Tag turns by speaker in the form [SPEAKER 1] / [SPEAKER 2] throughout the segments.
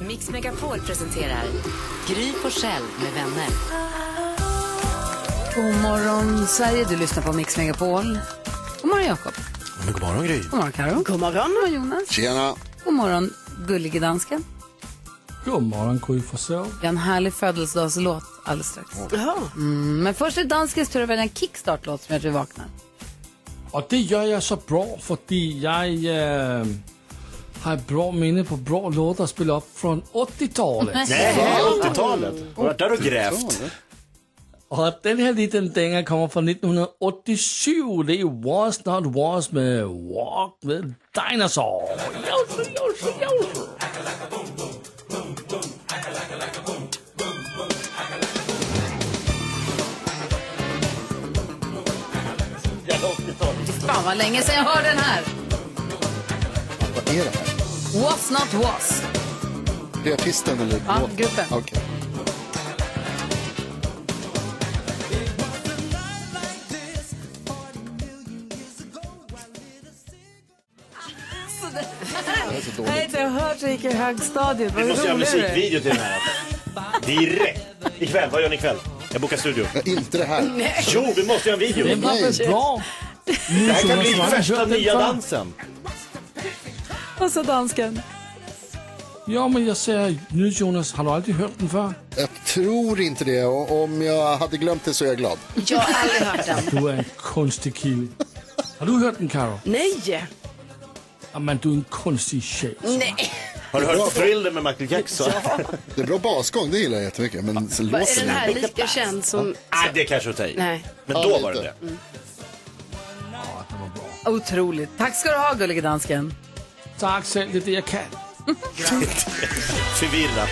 [SPEAKER 1] Mix Megapol presenterar Gry på med vänner.
[SPEAKER 2] God morgon Sverige, du lyssnar på Mix Megapol. God morgon Jakob.
[SPEAKER 3] God morgon, Gry.
[SPEAKER 2] God morgon Karo. God morgon. Jonas.
[SPEAKER 3] Tjena.
[SPEAKER 2] God morgon gullige dansken.
[SPEAKER 4] God morgon Gry Forssell.
[SPEAKER 2] Vi har en härlig födelsedagslåt alldeles strax. Mm, men först är danskens tur att välja en kickstart-låt som gör att vi vaknar.
[SPEAKER 4] Och det gör jag så bra för jag eh, har ett bra minne på bra låtar att spela upp från 80-talet.
[SPEAKER 5] Nej, 80-talet. Har du varit där och grävt?
[SPEAKER 4] Och den här liten dängan kommer från 1987. Det är Was Not Was med Walk with Dinosaur. Jausu, jausu, jausu.
[SPEAKER 2] Fan vad länge sedan jag hörde den här.
[SPEAKER 3] Vad är det här?
[SPEAKER 2] Was not was.
[SPEAKER 3] Det är artisten eller
[SPEAKER 2] Ja,
[SPEAKER 3] låten?
[SPEAKER 2] gruppen.
[SPEAKER 3] Okej.
[SPEAKER 2] Jag har inte hört så gick i högstadiet. Vad
[SPEAKER 5] Vi måste göra
[SPEAKER 2] rolig du är.
[SPEAKER 5] musikvideo till den här. Direkt. Ikväll, vad gör ni ikväll? Jag bokar studio.
[SPEAKER 3] Nej, Inte det här.
[SPEAKER 5] Jo, vi måste göra en video.
[SPEAKER 4] Den var väl bra?
[SPEAKER 5] Det här kan bli
[SPEAKER 4] Jonas,
[SPEAKER 5] värsta
[SPEAKER 4] jag den
[SPEAKER 5] nya
[SPEAKER 4] fan.
[SPEAKER 5] dansen.
[SPEAKER 2] Och så dansken.
[SPEAKER 4] Ja, men jag säger nu Jonas, har du aldrig hört den förr?
[SPEAKER 3] Jag tror inte det. Och om jag hade glömt det så är jag glad.
[SPEAKER 1] Jag har aldrig hört den.
[SPEAKER 4] Du är en konstig kille. Har du hört den Karo?
[SPEAKER 6] Nej!
[SPEAKER 4] Ja, men du är en konstig tjej.
[SPEAKER 6] Nej.
[SPEAKER 5] Har du hört Thriller med Michael Jackson?
[SPEAKER 3] Det är bra basgång, det gillar jag jättemycket. Men så
[SPEAKER 6] Vad är
[SPEAKER 3] låter
[SPEAKER 6] den
[SPEAKER 3] det.
[SPEAKER 6] här lika känd som...
[SPEAKER 5] Nej, det kanske är att ta i.
[SPEAKER 6] Nej.
[SPEAKER 5] Men
[SPEAKER 3] Ja,
[SPEAKER 5] då var det
[SPEAKER 3] lite.
[SPEAKER 5] det.
[SPEAKER 2] Otroligt. Tack ska du ha gullige dansken.
[SPEAKER 4] Tack själv, det är det jag kan.
[SPEAKER 5] Förvirrat.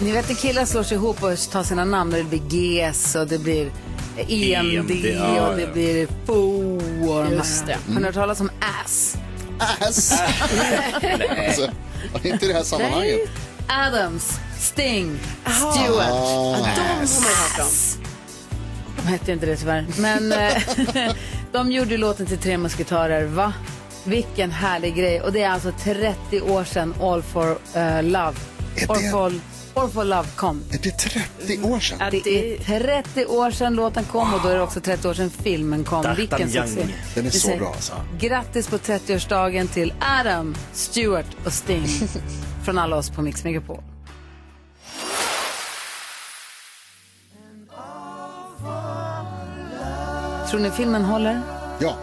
[SPEAKER 2] Ni vet när killar slår sig ihop och tar sina namn och det blir GS och det blir
[SPEAKER 6] E
[SPEAKER 2] EMD
[SPEAKER 5] EMD, ja,
[SPEAKER 2] och det
[SPEAKER 5] ja.
[SPEAKER 2] blir FO och de
[SPEAKER 6] Just
[SPEAKER 2] här.
[SPEAKER 6] det.
[SPEAKER 2] Har ni hört talas om ASS?
[SPEAKER 3] Ass! alltså, inte i det här sammanhanget.
[SPEAKER 2] Adams, Sting, Stewart.
[SPEAKER 3] Ah,
[SPEAKER 6] Ja, de har man hört om.
[SPEAKER 2] De hette inte det tyvärr. Men eh, de gjorde ju låten till Tre musketörer, va? Vilken härlig grej. Och det är alltså 30 år sedan All for eh, Love.
[SPEAKER 3] Är
[SPEAKER 2] All
[SPEAKER 3] det-
[SPEAKER 2] for, All for Love kom.
[SPEAKER 3] Är det 30 år sedan?
[SPEAKER 6] Ja,
[SPEAKER 2] Det
[SPEAKER 6] det...
[SPEAKER 2] är 30 år sedan låten kom och då är det också 30 år sedan filmen kom.
[SPEAKER 5] D'Artagnan.
[SPEAKER 2] Vilken succé.
[SPEAKER 3] Den är
[SPEAKER 2] Vi
[SPEAKER 3] så
[SPEAKER 2] säger
[SPEAKER 3] bra, alltså.
[SPEAKER 2] Grattis på 30-årsdagen till Adam, Stewart och Sting. Från alla oss på Mix Megapol. Tror ni filmen håller?
[SPEAKER 3] Ja.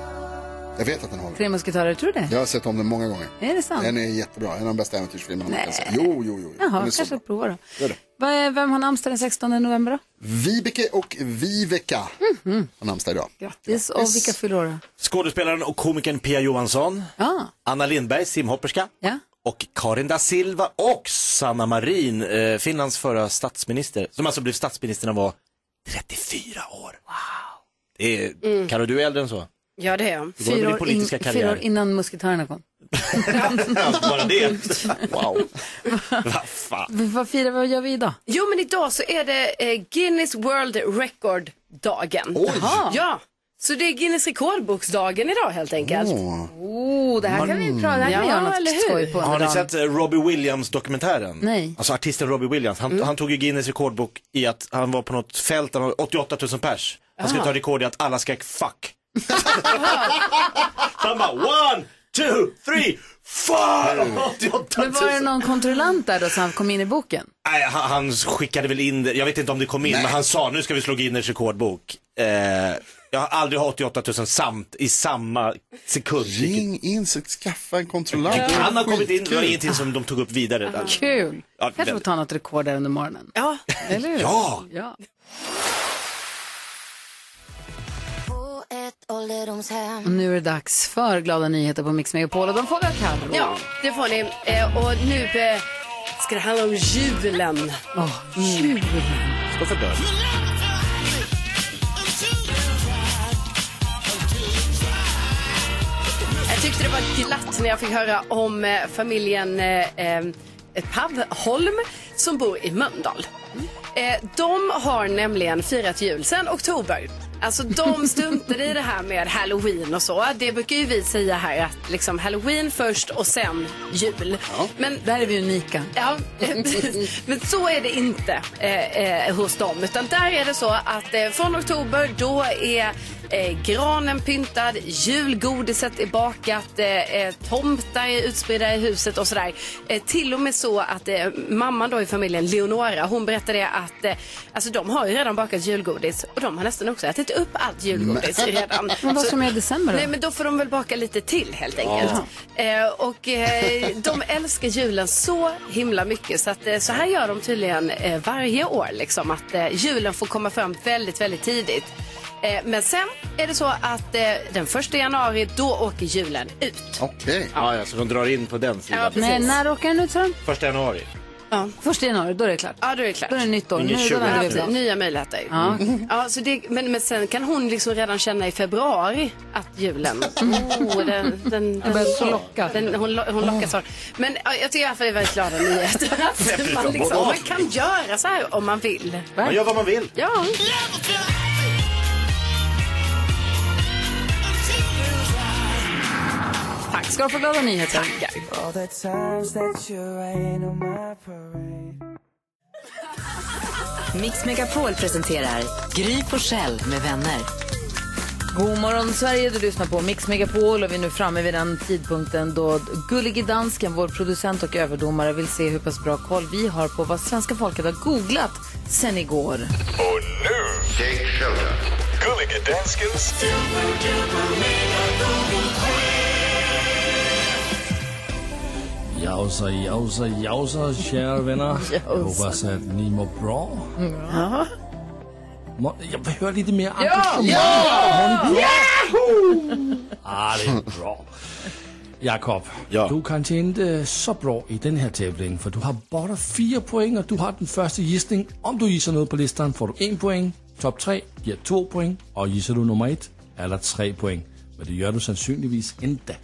[SPEAKER 3] Jag vet att den håller.
[SPEAKER 2] Tre musketörer, tror du det?
[SPEAKER 3] Jag har sett om den många gånger.
[SPEAKER 2] Är det sant?
[SPEAKER 3] Den är jättebra. En av de bästa äventyrsfilmerna man kan se. Jo, jo, jo.
[SPEAKER 2] Jaha,
[SPEAKER 3] den är så
[SPEAKER 2] kanske
[SPEAKER 3] bra.
[SPEAKER 2] jag provar då.
[SPEAKER 3] Gör det.
[SPEAKER 2] Vad är- Vem har namnsdag den 16 november då?
[SPEAKER 3] Vibeke och Viveka
[SPEAKER 2] Mhm.
[SPEAKER 3] har namnsdag idag.
[SPEAKER 2] Grattis. Och vilka fyller år då?
[SPEAKER 5] Skådespelaren och komikern Pia Johansson.
[SPEAKER 2] Ja.
[SPEAKER 5] Anna Lindberg, simhopperska.
[SPEAKER 2] Ja.
[SPEAKER 5] Och Karin da Silva och Sanna Marin, eh, Finlands förra statsminister, som alltså blev statsminister när hon var 34 år. Wow. Mm. Det är, Karo, du är äldre än så.
[SPEAKER 6] Ja, det är jag.
[SPEAKER 5] går med
[SPEAKER 2] Fyra
[SPEAKER 5] din
[SPEAKER 2] år, in,
[SPEAKER 5] politiska karriär.
[SPEAKER 2] fyra år innan musketörerna kom.
[SPEAKER 5] Bara det. Wow. Vad fan.
[SPEAKER 2] V- Vad firar vi och gör vi idag?
[SPEAKER 6] Jo, men idag så är det eh, Guinness World Record-dagen. Ja, så det är Guinness rekordboksdagen idag helt enkelt.
[SPEAKER 2] Oh, det här kan vi prata, det här kan vi
[SPEAKER 6] Ja,
[SPEAKER 2] göra
[SPEAKER 6] eller
[SPEAKER 2] något
[SPEAKER 6] hur?
[SPEAKER 2] skoj på
[SPEAKER 5] Har
[SPEAKER 2] under
[SPEAKER 5] ni
[SPEAKER 2] dagen.
[SPEAKER 5] sett eh, Robbie Williams-dokumentären?
[SPEAKER 2] Nej.
[SPEAKER 5] Alltså artisten Robbie Williams. Han, han tog ju Guinness rekordbok i att han var på något fält, han var 88 000 pers. Han skulle ta rekord i att alla skrek fuck. han bara one, two, three, four! 88 000.
[SPEAKER 2] Men var det någon kontrollant där då som kom in i boken?
[SPEAKER 5] Nej, han, han skickade väl in det. Jag vet inte om det kom in, men han sa nu ska vi slå Guinness rekordbok. Eh, jag har aldrig haft 88 000 samt i samma sekund. vilket-
[SPEAKER 3] Ring in, så skaffa en kontrollant.
[SPEAKER 5] Det
[SPEAKER 3] Det är
[SPEAKER 5] kan ha kommit in, det var
[SPEAKER 3] skitkul.
[SPEAKER 5] ingenting som de tog upp vidare. Där.
[SPEAKER 2] Kul!
[SPEAKER 5] Ja,
[SPEAKER 2] Kanske
[SPEAKER 5] den-
[SPEAKER 2] får ta något rekord där under morgonen.
[SPEAKER 6] Ja,
[SPEAKER 5] Ah.
[SPEAKER 2] Eller hur?
[SPEAKER 5] Ja.
[SPEAKER 2] ja.
[SPEAKER 7] På ett
[SPEAKER 2] Och nu är det dags för glada nyheter på Mix Megapol och de får vi av Carro.
[SPEAKER 6] Ja, det får ni. Eh, och nu eh, ska det handla om julen.
[SPEAKER 2] Åh, jul.
[SPEAKER 5] Stå för dörren.
[SPEAKER 6] Jag tyckte det var glatt när jag fick höra om eh, familjen eh, eh, Pavholm som bor i Mölndal. Eh, de har nämligen firat jul sedan oktober. Alltså de struntade i det här med halloween och så. Det brukar ju vi säga här att liksom halloween först och sen jul. Men
[SPEAKER 2] Där är vi unika.
[SPEAKER 6] Ja, precis. men så är det inte eh, eh, hos dem. Utan där är det så att eh, från oktober då är eh, granen pyntad, julgodiset är bakat, eh, eh, tomtar är utspridda i huset och sådär. Eh, till och med så att eh, mamman då i familjen, Leonora, hon berättade att eh, alltså de har ju redan bakat julgodis och de har nästan också ätit upp allt julgodis redan.
[SPEAKER 2] Men vad
[SPEAKER 6] Så-
[SPEAKER 2] ska man göra i december då?
[SPEAKER 6] Nej, men då får de väl baka lite till helt enkelt. Eh, och eh, de älskar julen så himla mycket så att eh, så här gör de tydligen eh, varje år liksom att eh, julen får komma fram väldigt, väldigt tidigt. Eh, men sen är det så att eh, den första januari då åker julen ut.
[SPEAKER 7] Okej.
[SPEAKER 5] Ja, ja, så de drar in på den sidan.
[SPEAKER 6] precis.
[SPEAKER 2] Nej, när åker den ut sa de?
[SPEAKER 5] Första januari.
[SPEAKER 6] Ja.
[SPEAKER 2] Första januari, då är det klart.
[SPEAKER 6] Ja, då är det klart.
[SPEAKER 2] Då är det nytt år.
[SPEAKER 5] Ingen
[SPEAKER 2] Nu, då vänder vi
[SPEAKER 6] Ja,
[SPEAKER 2] blad.
[SPEAKER 6] nya möjligheter.
[SPEAKER 2] Ja.
[SPEAKER 6] Ja, så det, men, men sen kan hon liksom redan känna i februari att julen, oh, den, den, den,
[SPEAKER 2] Mm. börjar locka.
[SPEAKER 6] den, hon, lo- hon lockas av. Men ja, jag tycker i alla fall det är väldigt glada nyheter. Att man, liksom, man kan göra så här om man vill.
[SPEAKER 5] Man gör vad man vill.
[SPEAKER 6] Ja.
[SPEAKER 2] Tack ska du få glada nyheter.
[SPEAKER 1] Mix Megapol presenterar Gry på Själv med vänner.
[SPEAKER 2] God morgon Sverige, du lyssnar på Mix Megapol och vi är nu framme vid den tidpunkten då Gullige Dansken, vår producent och överdomare, vill se hur pass bra koll vi har på vad svenska folket har googlat sen igår.
[SPEAKER 8] Och nu, Jake Sheldon. Gullige Danskens...
[SPEAKER 4] Jausa, jausa, jausa, kära vänner. Jag hoppas att ni mår bra. Må- Jag behöver lite mer ambition. Ah, det är bra. Jakob,
[SPEAKER 5] Ja.
[SPEAKER 4] du kanske inte är så bra i den här tävlingen för du har bara fyra poäng och du har den första gissningen. Om du gissar något på listan får du en poäng. Topp tre ger två poäng och gissar du nummer ett eller tre poäng. Men det gör du sannolikt inte.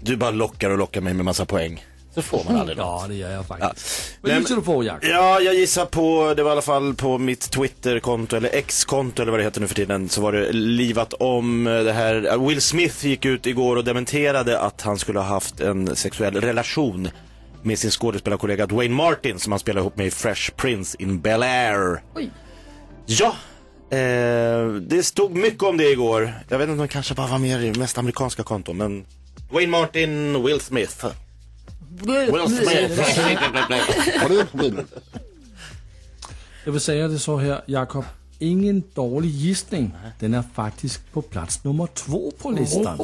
[SPEAKER 5] Du bara lockar och lockar mig med massa poäng. Så får man aldrig något.
[SPEAKER 4] Ja, det gör jag faktiskt.
[SPEAKER 5] Nej,
[SPEAKER 4] Vad
[SPEAKER 5] men-
[SPEAKER 4] gissar du på, Jakob?
[SPEAKER 5] Ja, jag gissar på, det var i alla fall på mitt Twitterkonto eller X-konto eller vad det heter nu för tiden, så var det livat om eh, det här. eh, Will Smith gick ut igår och dementerade att han skulle ha haft en sexuell relation med sin skådespelarkollega Dwayne Martin som han spelar ihop med i Fresh Prince in Bel Air.
[SPEAKER 2] Oj.
[SPEAKER 5] Ja, eh, det stod mycket om det igår. Jag vet inte om det kanske bara var mer i mest amerikanska konton, men Dwayne Martin, Will Smith. Will Smith.
[SPEAKER 7] Har du ett problem?
[SPEAKER 4] Jag vill säga det så här, Jakob. Ingen dårlig gissning. Den är faktiskt på plats nummer två på listan.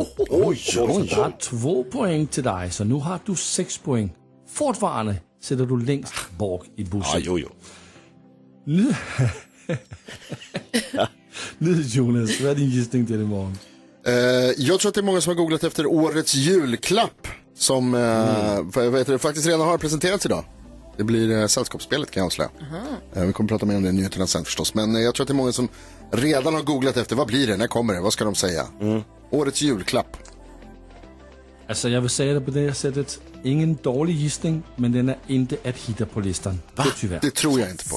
[SPEAKER 4] Så der er två poäng till dig, så nu har du sex poäng. Fortfarande sitter du längst bak i
[SPEAKER 5] Ja,
[SPEAKER 4] bussen.
[SPEAKER 5] jo, jo.
[SPEAKER 4] Nu... nu Jonas, vad är din gissning till imorgon?
[SPEAKER 7] Eh, jag tror att det är många som har googlat efter årets julklapp som eh, vad vad heter det, faktiskt redan har presenterats idag. Det blir eh, Sällskapsspelet kan jag avslöja. Eh, vi kommer prata mer om det i nyheterna sen förstås. Men eh, jag tror att det är många som redan har googlat efter vad blir det, när kommer det, vad ska de säga? Årets julklapp.
[SPEAKER 4] Alltså jag vill säga det på det här sättet. Ingen dålig gissning, men den är inte att hitta på listan. Va? Tyvärr.
[SPEAKER 7] Det tror jag inte på.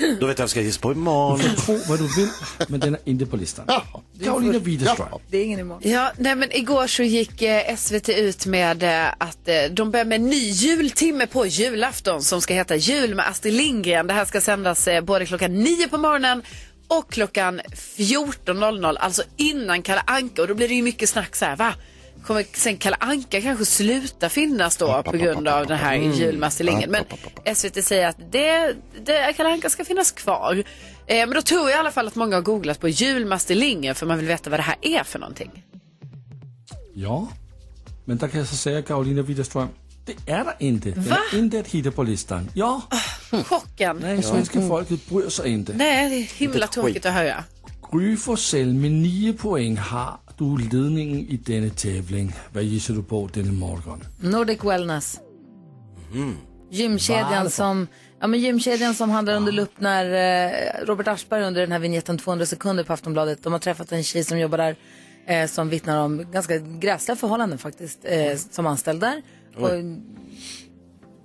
[SPEAKER 5] Då vet jag vad jag ska gissa på imorgon.
[SPEAKER 4] Tro vad du vill, men den är inte på listan. Karolina Widerström.
[SPEAKER 2] Det är ingen imorgon.
[SPEAKER 6] Ja, nej men igår så gick eh, SVT ut med eh, att eh, de börjar med en ny jultimme på julafton som ska heta Jul med Astrid Lindgren. Det här ska sändas eh, både klockan 9 på morgonen och klockan 14.00, alltså innan Kalle Anka. Och då blir det ju mycket snack så här, va? Kommer sen Kalle Anka kanske sluta finnas då på grund av den här Jul med Astrid Lindgren. Men SVT säger att det, det, Kalle Anka ska finnas kvar. Eh, men då tror jag i alla fall att många har googlat på Jul med Astrid Lindgren för man vill veta vad det här är för någonting.
[SPEAKER 4] Ja, men där kan jag så säga Karolina Widerström. Det är det inte. Den är inte att hitta på listan. Ja,
[SPEAKER 6] Chocken.
[SPEAKER 4] nej, svenska folket bryr sig inte.
[SPEAKER 6] Nej, det är himla tråkigt att höra.
[SPEAKER 4] Gry Forssell med 9 poäng har du ledningen i denna tävling. Vad gissar du på denna morgon?
[SPEAKER 2] Nordic Wellness.
[SPEAKER 4] Mm.
[SPEAKER 2] Gymkedjan
[SPEAKER 4] Varför?
[SPEAKER 2] som, ja, men gymkedjan som handlar under lupp när eh, Robert Aschberg under den här vignetten 200 sekunder på Aftonbladet. De har träffat en tjej som jobbar där eh, som vittnar om ganska gräsliga förhållanden faktiskt eh, som anställd där.
[SPEAKER 4] Mm. Oj.
[SPEAKER 2] Och,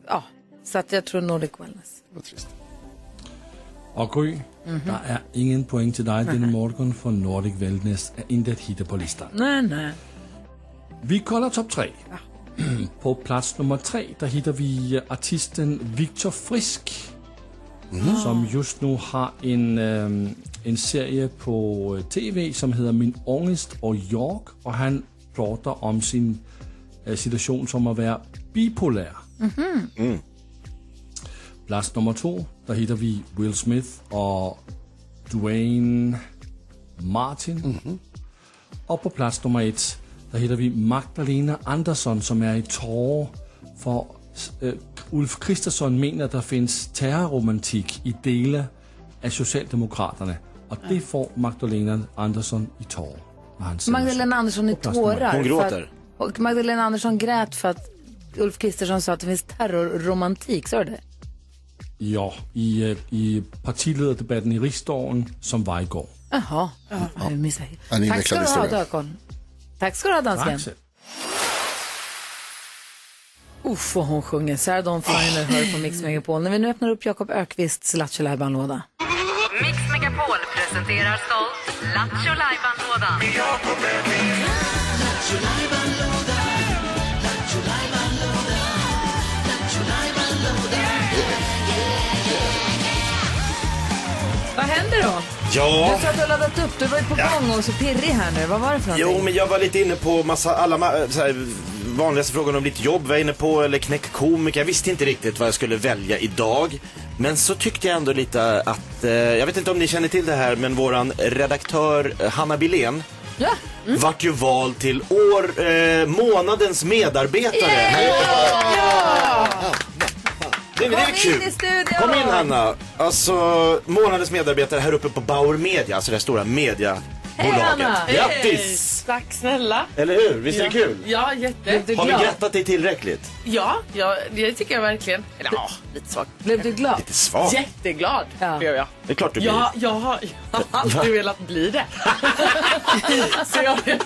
[SPEAKER 2] ja, så att jag tror Nordic Wellness.
[SPEAKER 4] Och Gry, der är ingen poäng till dig denna morgon för Nordic Wellness är inte att hitta på listan.
[SPEAKER 2] Nej, nej.
[SPEAKER 4] Vi kollar topp tre. På plats nummer tre, där hittar vi eh, artisten Viktor Frisk. Som just nu har en, ehm, en serie på eh, TV som heter Min ångest och jag. Och han pratar om sin eh, situation som att vara bipolär. Plats nummer två, där hittar vi Will Smith och Dwayne Martin. Och på plats nummer ett, där hittar vi Magdalena Andersson som är i tårar för äh, Ulf Kristersson menar att det finns terrorromantik i delar av Socialdemokraterna. Och det får Magdalena Andersson i tårar. när han säger så.
[SPEAKER 2] Magdalena Andersson i
[SPEAKER 4] Och plats nummer-
[SPEAKER 2] tårar. för att- Och Magdalena Andersson grät för att Ulf Kristersson sa att det finns terrorromantik. Sa du det?
[SPEAKER 4] Ja, i, øh, i partiledardebatten i riksdagen som var igår.
[SPEAKER 2] Jaha. Jag missade.
[SPEAKER 4] Ja, det är en
[SPEAKER 2] Tack ska
[SPEAKER 4] invecklad
[SPEAKER 2] du ha,
[SPEAKER 4] historia.
[SPEAKER 2] Dökon. Tack ska du ha, dansken.
[SPEAKER 4] Axel.
[SPEAKER 2] Uff, vad hon sjunger. Sarah Dawn Finer hör på Mix Megapol. När vi nu öppnar upp Jakob Ökvists Lattjo Lajban-låda.
[SPEAKER 1] Mix Megapol presenterar stolt Lattjo Lajban-lådan.
[SPEAKER 2] Vad händer då?
[SPEAKER 5] Ja.
[SPEAKER 2] Du sa att du har laddat upp. Du var ju på gång och så pirrig här nu. Vad var det för någonting?
[SPEAKER 5] Jo, men jag var lite inne på massa, alla ma- så här, vanligaste frågorna om ditt jobb var jag inne på, eller knäck komiker. Jag visste inte riktigt vad jag skulle välja idag. Men så tyckte jag ändå lite att, eh, jag vet inte om ni känner till det här, men våran redaktör eh, Hanna Billén
[SPEAKER 2] Ja.
[SPEAKER 5] vart ju vald till år, eh, månadens medarbetare. Det, det är väl
[SPEAKER 2] Kom
[SPEAKER 5] kul.
[SPEAKER 2] in i studion!
[SPEAKER 5] Kom in Hanna. Alltså, månadens medarbetare här uppe på Bauer Media, alltså det här stora mediabolaget.
[SPEAKER 9] Hej Anna!
[SPEAKER 5] Grattis!
[SPEAKER 9] Tack snälla!
[SPEAKER 5] Eller hur? Visst är det
[SPEAKER 9] Ja.
[SPEAKER 5] kul?
[SPEAKER 9] Ja, jätte.
[SPEAKER 5] Har vi grattat dig tillräckligt?
[SPEAKER 9] Ja, ja, det tycker jag verkligen. Eller ja, lite svagt.
[SPEAKER 2] Blev du glad?
[SPEAKER 5] Lite svagt.
[SPEAKER 9] Jätteglad blev jag.
[SPEAKER 5] Det är klart du
[SPEAKER 9] Ja, jag har, jag har alltid velat bli det. Så jag blev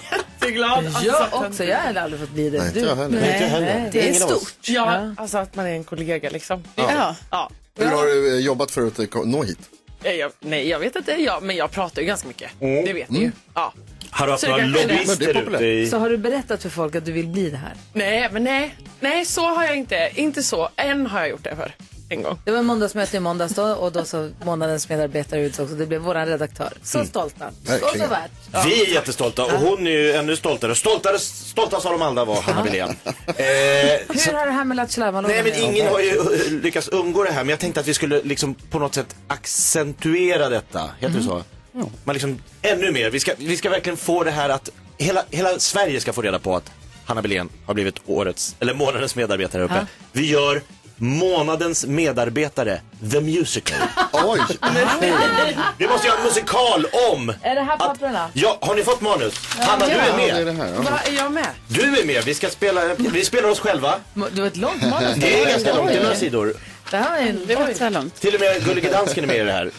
[SPEAKER 9] jätteglad.
[SPEAKER 2] Jag också. Jag hade aldrig fått bli det.
[SPEAKER 9] Nej,
[SPEAKER 2] Du-
[SPEAKER 9] inte jag heller. Nej, inte jag heller.
[SPEAKER 2] Nej.
[SPEAKER 9] Det är stort. Ja, alltså att man är en kollega liksom.
[SPEAKER 7] Ja.
[SPEAKER 9] ja.
[SPEAKER 7] Hur har du eh, jobbat för att eh, ko- nå hit?
[SPEAKER 9] Nej, Jag, nej, jag vet inte. Jag, men jag pratar ju ganska mycket.
[SPEAKER 7] Mm.
[SPEAKER 9] Det vet ni ju. Ja.
[SPEAKER 5] Har du haft
[SPEAKER 9] Så det
[SPEAKER 5] några
[SPEAKER 9] kanske är det. Men det
[SPEAKER 5] lobbyister
[SPEAKER 9] är populärt.
[SPEAKER 5] ute i...
[SPEAKER 2] Så har du berättat för folk att du vill bli det här?
[SPEAKER 9] Nej, men nej. Nej, så har jag inte. Inte så. Än har jag gjort det för. En gång.
[SPEAKER 2] Det var måndagsmöte i måndags då och då så månadens medarbetare utsågs och det blev våran redaktör. Så
[SPEAKER 5] Mm.
[SPEAKER 2] stolta.
[SPEAKER 5] Verkligen.
[SPEAKER 2] Och så värt.
[SPEAKER 5] Vi är jättestolta och hon är ju ännu stoltare. Stoltare, stoltast av dem alla var Hanna Billén. Eh,
[SPEAKER 2] Hur har det här med Lattjo Lajban-lådan
[SPEAKER 5] Nej men
[SPEAKER 2] att göra?
[SPEAKER 5] ingen har ju eh, lyckats undgå det här men jag tänkte att vi skulle liksom på något sätt accentuera detta, heter det så? Man liksom, ännu mer, vi ska, vi ska verkligen få det här att hela, hela Sverige ska få reda på att Hanna Billén har blivit årets, eller månadens medarbetare här uppe.
[SPEAKER 2] Ja.
[SPEAKER 5] Vi gör månadens medarbetare, The Musical.
[SPEAKER 7] Oj!
[SPEAKER 5] Vi måste göra en musikal om!
[SPEAKER 2] Är det här papperna?
[SPEAKER 5] Ja, har ni fått manus? Hanna, du är med!
[SPEAKER 9] Va, är jag med?
[SPEAKER 5] Du är med, vi ska spela, vi spelar oss själva.
[SPEAKER 2] Det var ett långt
[SPEAKER 5] Det är ganska långt, det är några sidor.
[SPEAKER 2] Det här var ju det var så här långt.
[SPEAKER 5] Till och med Gullige Dansken är med i det här.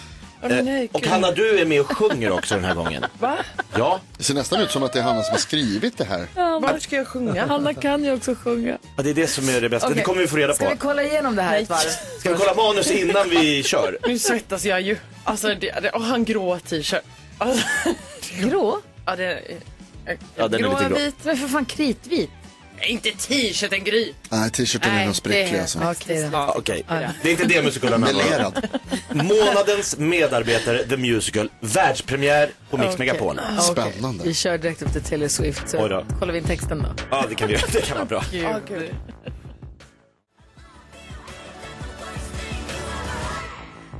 [SPEAKER 9] Åh, nej,
[SPEAKER 5] Eh, och
[SPEAKER 9] gud.
[SPEAKER 5] Hanna, du är med och sjunger också den här gången.
[SPEAKER 9] Va?
[SPEAKER 5] Ja.
[SPEAKER 7] Det ser nästan ut som att det är Hanna som har skrivit det här.
[SPEAKER 9] Varför ska jag sjunga?
[SPEAKER 2] Hanna kan ju också sjunga.
[SPEAKER 5] Ja, det är det som är det bästa.
[SPEAKER 2] Okej.
[SPEAKER 5] Det kommer vi få reda på.
[SPEAKER 2] Ska vi kolla igenom det här ett varv?
[SPEAKER 5] Ska vi kolla manus innan vi kör?
[SPEAKER 9] Nu svettas jag ju. Alltså, det, det, och han grå t-shirt. Alltså,
[SPEAKER 2] grå?
[SPEAKER 9] Ja, det är...
[SPEAKER 5] Ja, den är lite grå.
[SPEAKER 2] vit. Men för fan kritvit.
[SPEAKER 9] Nej, inte t-shirten gry.
[SPEAKER 7] Nej, t-shirten är nog spräcklig alltså.
[SPEAKER 5] Ja, Ah, Okej, det är inte det musikalen handlar om.
[SPEAKER 7] Melerad.
[SPEAKER 5] Månadens medarbetare, The Musical, världspremiär på Mix
[SPEAKER 2] Okej.
[SPEAKER 5] Megapol.
[SPEAKER 2] Okej. Vi kör direkt upp till Taylor Swift så
[SPEAKER 5] Oj då.
[SPEAKER 2] kollar vi in texten då.
[SPEAKER 5] Ja, det kan vi göra. Det kan vara bra.
[SPEAKER 9] Åh, gud.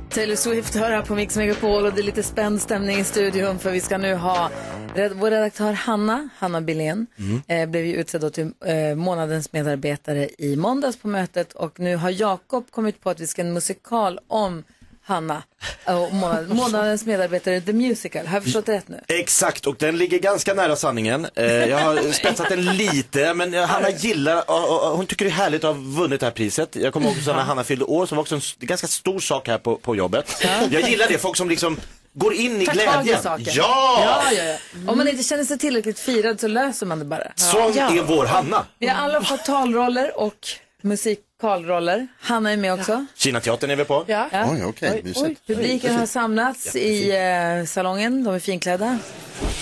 [SPEAKER 2] Taylor Swift hör här på Mix Megapol och det är lite spänd stämning i studion för vi ska nu ha red- vår redaktör Hanna, Hanna Billén, eh, blev ju utsedd då till eh, månadens medarbetare i måndags på mötet och nu har Jakob kommit på att vi ska ha en musikal om Hanna och månad, månadens medarbetare The Musical. Har jag förstått rätt nu?
[SPEAKER 5] Exakt, och den ligger ganska nära sanningen. Eh, jag har spetsat den lite, men eh, Hanna gillar, och, och, och, hon tycker det är härligt att ha vunnit det här priset. Jag kommer ihåg också när Hanna fyllde år, som var också en s- ganska stor sak här på, på jobbet. Jag gillar det, folk som liksom går in i
[SPEAKER 2] Ta tag i
[SPEAKER 5] glädjen.
[SPEAKER 2] saker.
[SPEAKER 5] Ja!
[SPEAKER 2] Ja, ja, ja. Mm. Om man inte känner sig tillräckligt firad så löser man det bara.
[SPEAKER 5] Som
[SPEAKER 2] ja.
[SPEAKER 5] är vår Hanna.
[SPEAKER 2] Vi har alla fått talroller och musikalroller. Hanna är med också.
[SPEAKER 5] Kinateatern är vi på.
[SPEAKER 2] Ja.
[SPEAKER 7] Oj, okej, mysigt.
[SPEAKER 2] Publiken har samlats i eh, salongen. De är finklädda.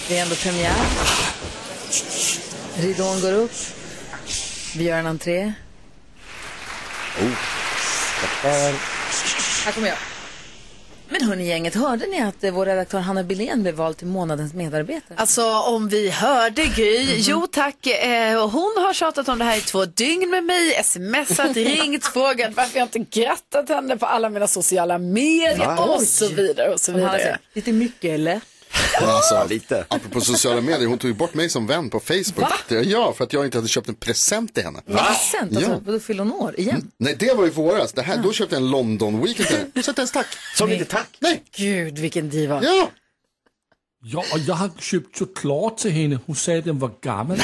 [SPEAKER 2] Det är ändå premiär. Ridån går upp. Vi gör en entré. Här kommer jag. Men hörni gänget, hörde ni att eh, vår redaktör Hanna Billén blev vald till månadens medarbetare? Mm-hmm.
[SPEAKER 6] Alltså om vi hörde Gry, jo tack, eh, och hon har tjatat om det här i två dygn med mig, smsat, ringt, frågat varför jag inte grattat henne på alla mina sociala medier
[SPEAKER 7] Va?
[SPEAKER 6] och så vidare och så
[SPEAKER 2] Som Hanna
[SPEAKER 6] vidare.
[SPEAKER 2] säger, Lite mycket eller?
[SPEAKER 7] Men Alltså, lite. Apropå sociala medier, hon tog ju bort mig som vän på Facebook.
[SPEAKER 2] Va?
[SPEAKER 7] Det- Ja, för att jag inte hade köpt en present till henne.
[SPEAKER 2] Present, alltså,
[SPEAKER 7] Ja.
[SPEAKER 2] då fyller hon år igen.
[SPEAKER 7] Nej, det var i våras. Det här, då köpte jag en London Weekend till henne. Så inte ens tack.
[SPEAKER 5] Som inte tack?
[SPEAKER 7] Nej.
[SPEAKER 2] Gud, vilken diva.
[SPEAKER 7] Ja.
[SPEAKER 4] Ja, och jag har köpt choklad till henne. Hon sa att den var gammal.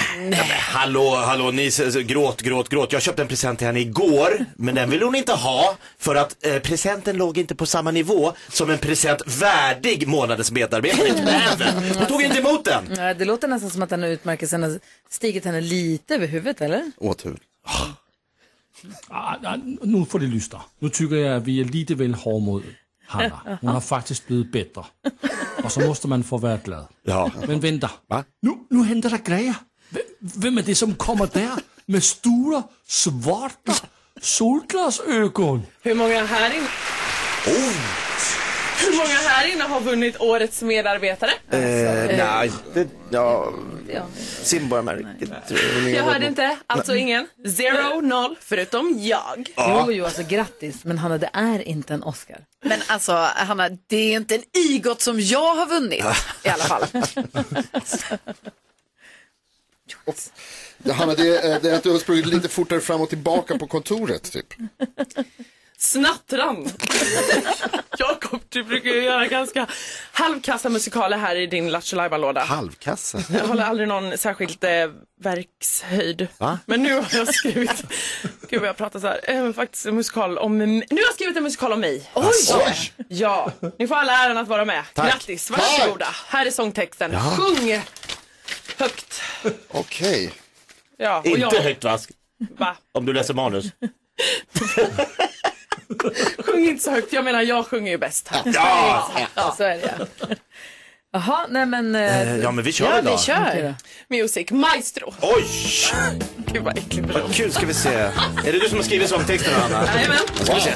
[SPEAKER 5] Hallå, hallå, ni s- s- gråt, gråt, gråt. Jag köpte en present till henne igår, men den ville hon inte ha för att eh, presenten låg inte på samma nivå som en present värdig månadens medarbetare till henne. Hon tog inte emot den.
[SPEAKER 2] Nej, Det låter nästan som att den här utmärkelsen har stigit henne lite över huvudet, eller?
[SPEAKER 7] Åthud.
[SPEAKER 4] Ah, ah, nu får det lyssna. Nu tycker jag att vi är lite väl hård mot Hanna. Hon har faktiskt blivit bättre. Och så måste man få vara glad.
[SPEAKER 5] Ja.
[SPEAKER 4] Men vänta. Nu, nu händer det grejer. Vem, vem är det som kommer där med stora, svarta solglasögon?
[SPEAKER 9] Hur många här inne? Hur många här inne har vunnit årets medarbetare?
[SPEAKER 5] Eh, nej, det, ja,
[SPEAKER 2] Ja.
[SPEAKER 5] simborgarmärket.
[SPEAKER 9] Jag hörde inte, alltså ingen. Zero, noll, förutom jag.
[SPEAKER 2] Jo, jo, alltså grattis, men Hanna, det är inte en Oscar.
[SPEAKER 6] Men alltså Hanna, det är inte en igot som jag har vunnit i alla fall.
[SPEAKER 7] Ja, Hanna, det är, det är att du har sprungit lite fortare fram och tillbaka på kontoret, typ.
[SPEAKER 9] Snattran. Jakob, du brukar ju göra ganska halvkassa musikaler här i din Lattjo låda
[SPEAKER 7] Halvkassa.
[SPEAKER 9] Jag håller aldrig någon särskilt eh, verkshöjd.
[SPEAKER 7] Va?
[SPEAKER 9] Men nu har jag skrivit, gud vad jag pratar så här, eh, faktiskt en musikal om, mig. nu har jag skrivit en musikal om mig. Oj! Ja, ni får alla äran att vara med.
[SPEAKER 5] Tack.
[SPEAKER 9] Grattis, varsågoda. Här är sångtexten. Sjung högt.
[SPEAKER 7] Okej.
[SPEAKER 9] Ja, och
[SPEAKER 5] Inte
[SPEAKER 9] jag,
[SPEAKER 5] högt vask,
[SPEAKER 9] va?
[SPEAKER 5] om du läser manus.
[SPEAKER 9] Sjung inte så högt, jag menar jag sjunger ju bäst. här.
[SPEAKER 5] Ja,
[SPEAKER 2] Så är det ja. Jaha, nej men... eh,
[SPEAKER 5] eh, ja men vi kör
[SPEAKER 6] Ja,
[SPEAKER 5] idag.
[SPEAKER 6] vi
[SPEAKER 2] okej
[SPEAKER 6] kör.
[SPEAKER 2] då.
[SPEAKER 9] Music Maestro.
[SPEAKER 5] Oj,
[SPEAKER 9] Gud vad äckligt.
[SPEAKER 5] vad kul ska vi se. Är det du som har skrivit sångtexten Hanna?
[SPEAKER 9] Jajamän.
[SPEAKER 5] Ska vi se.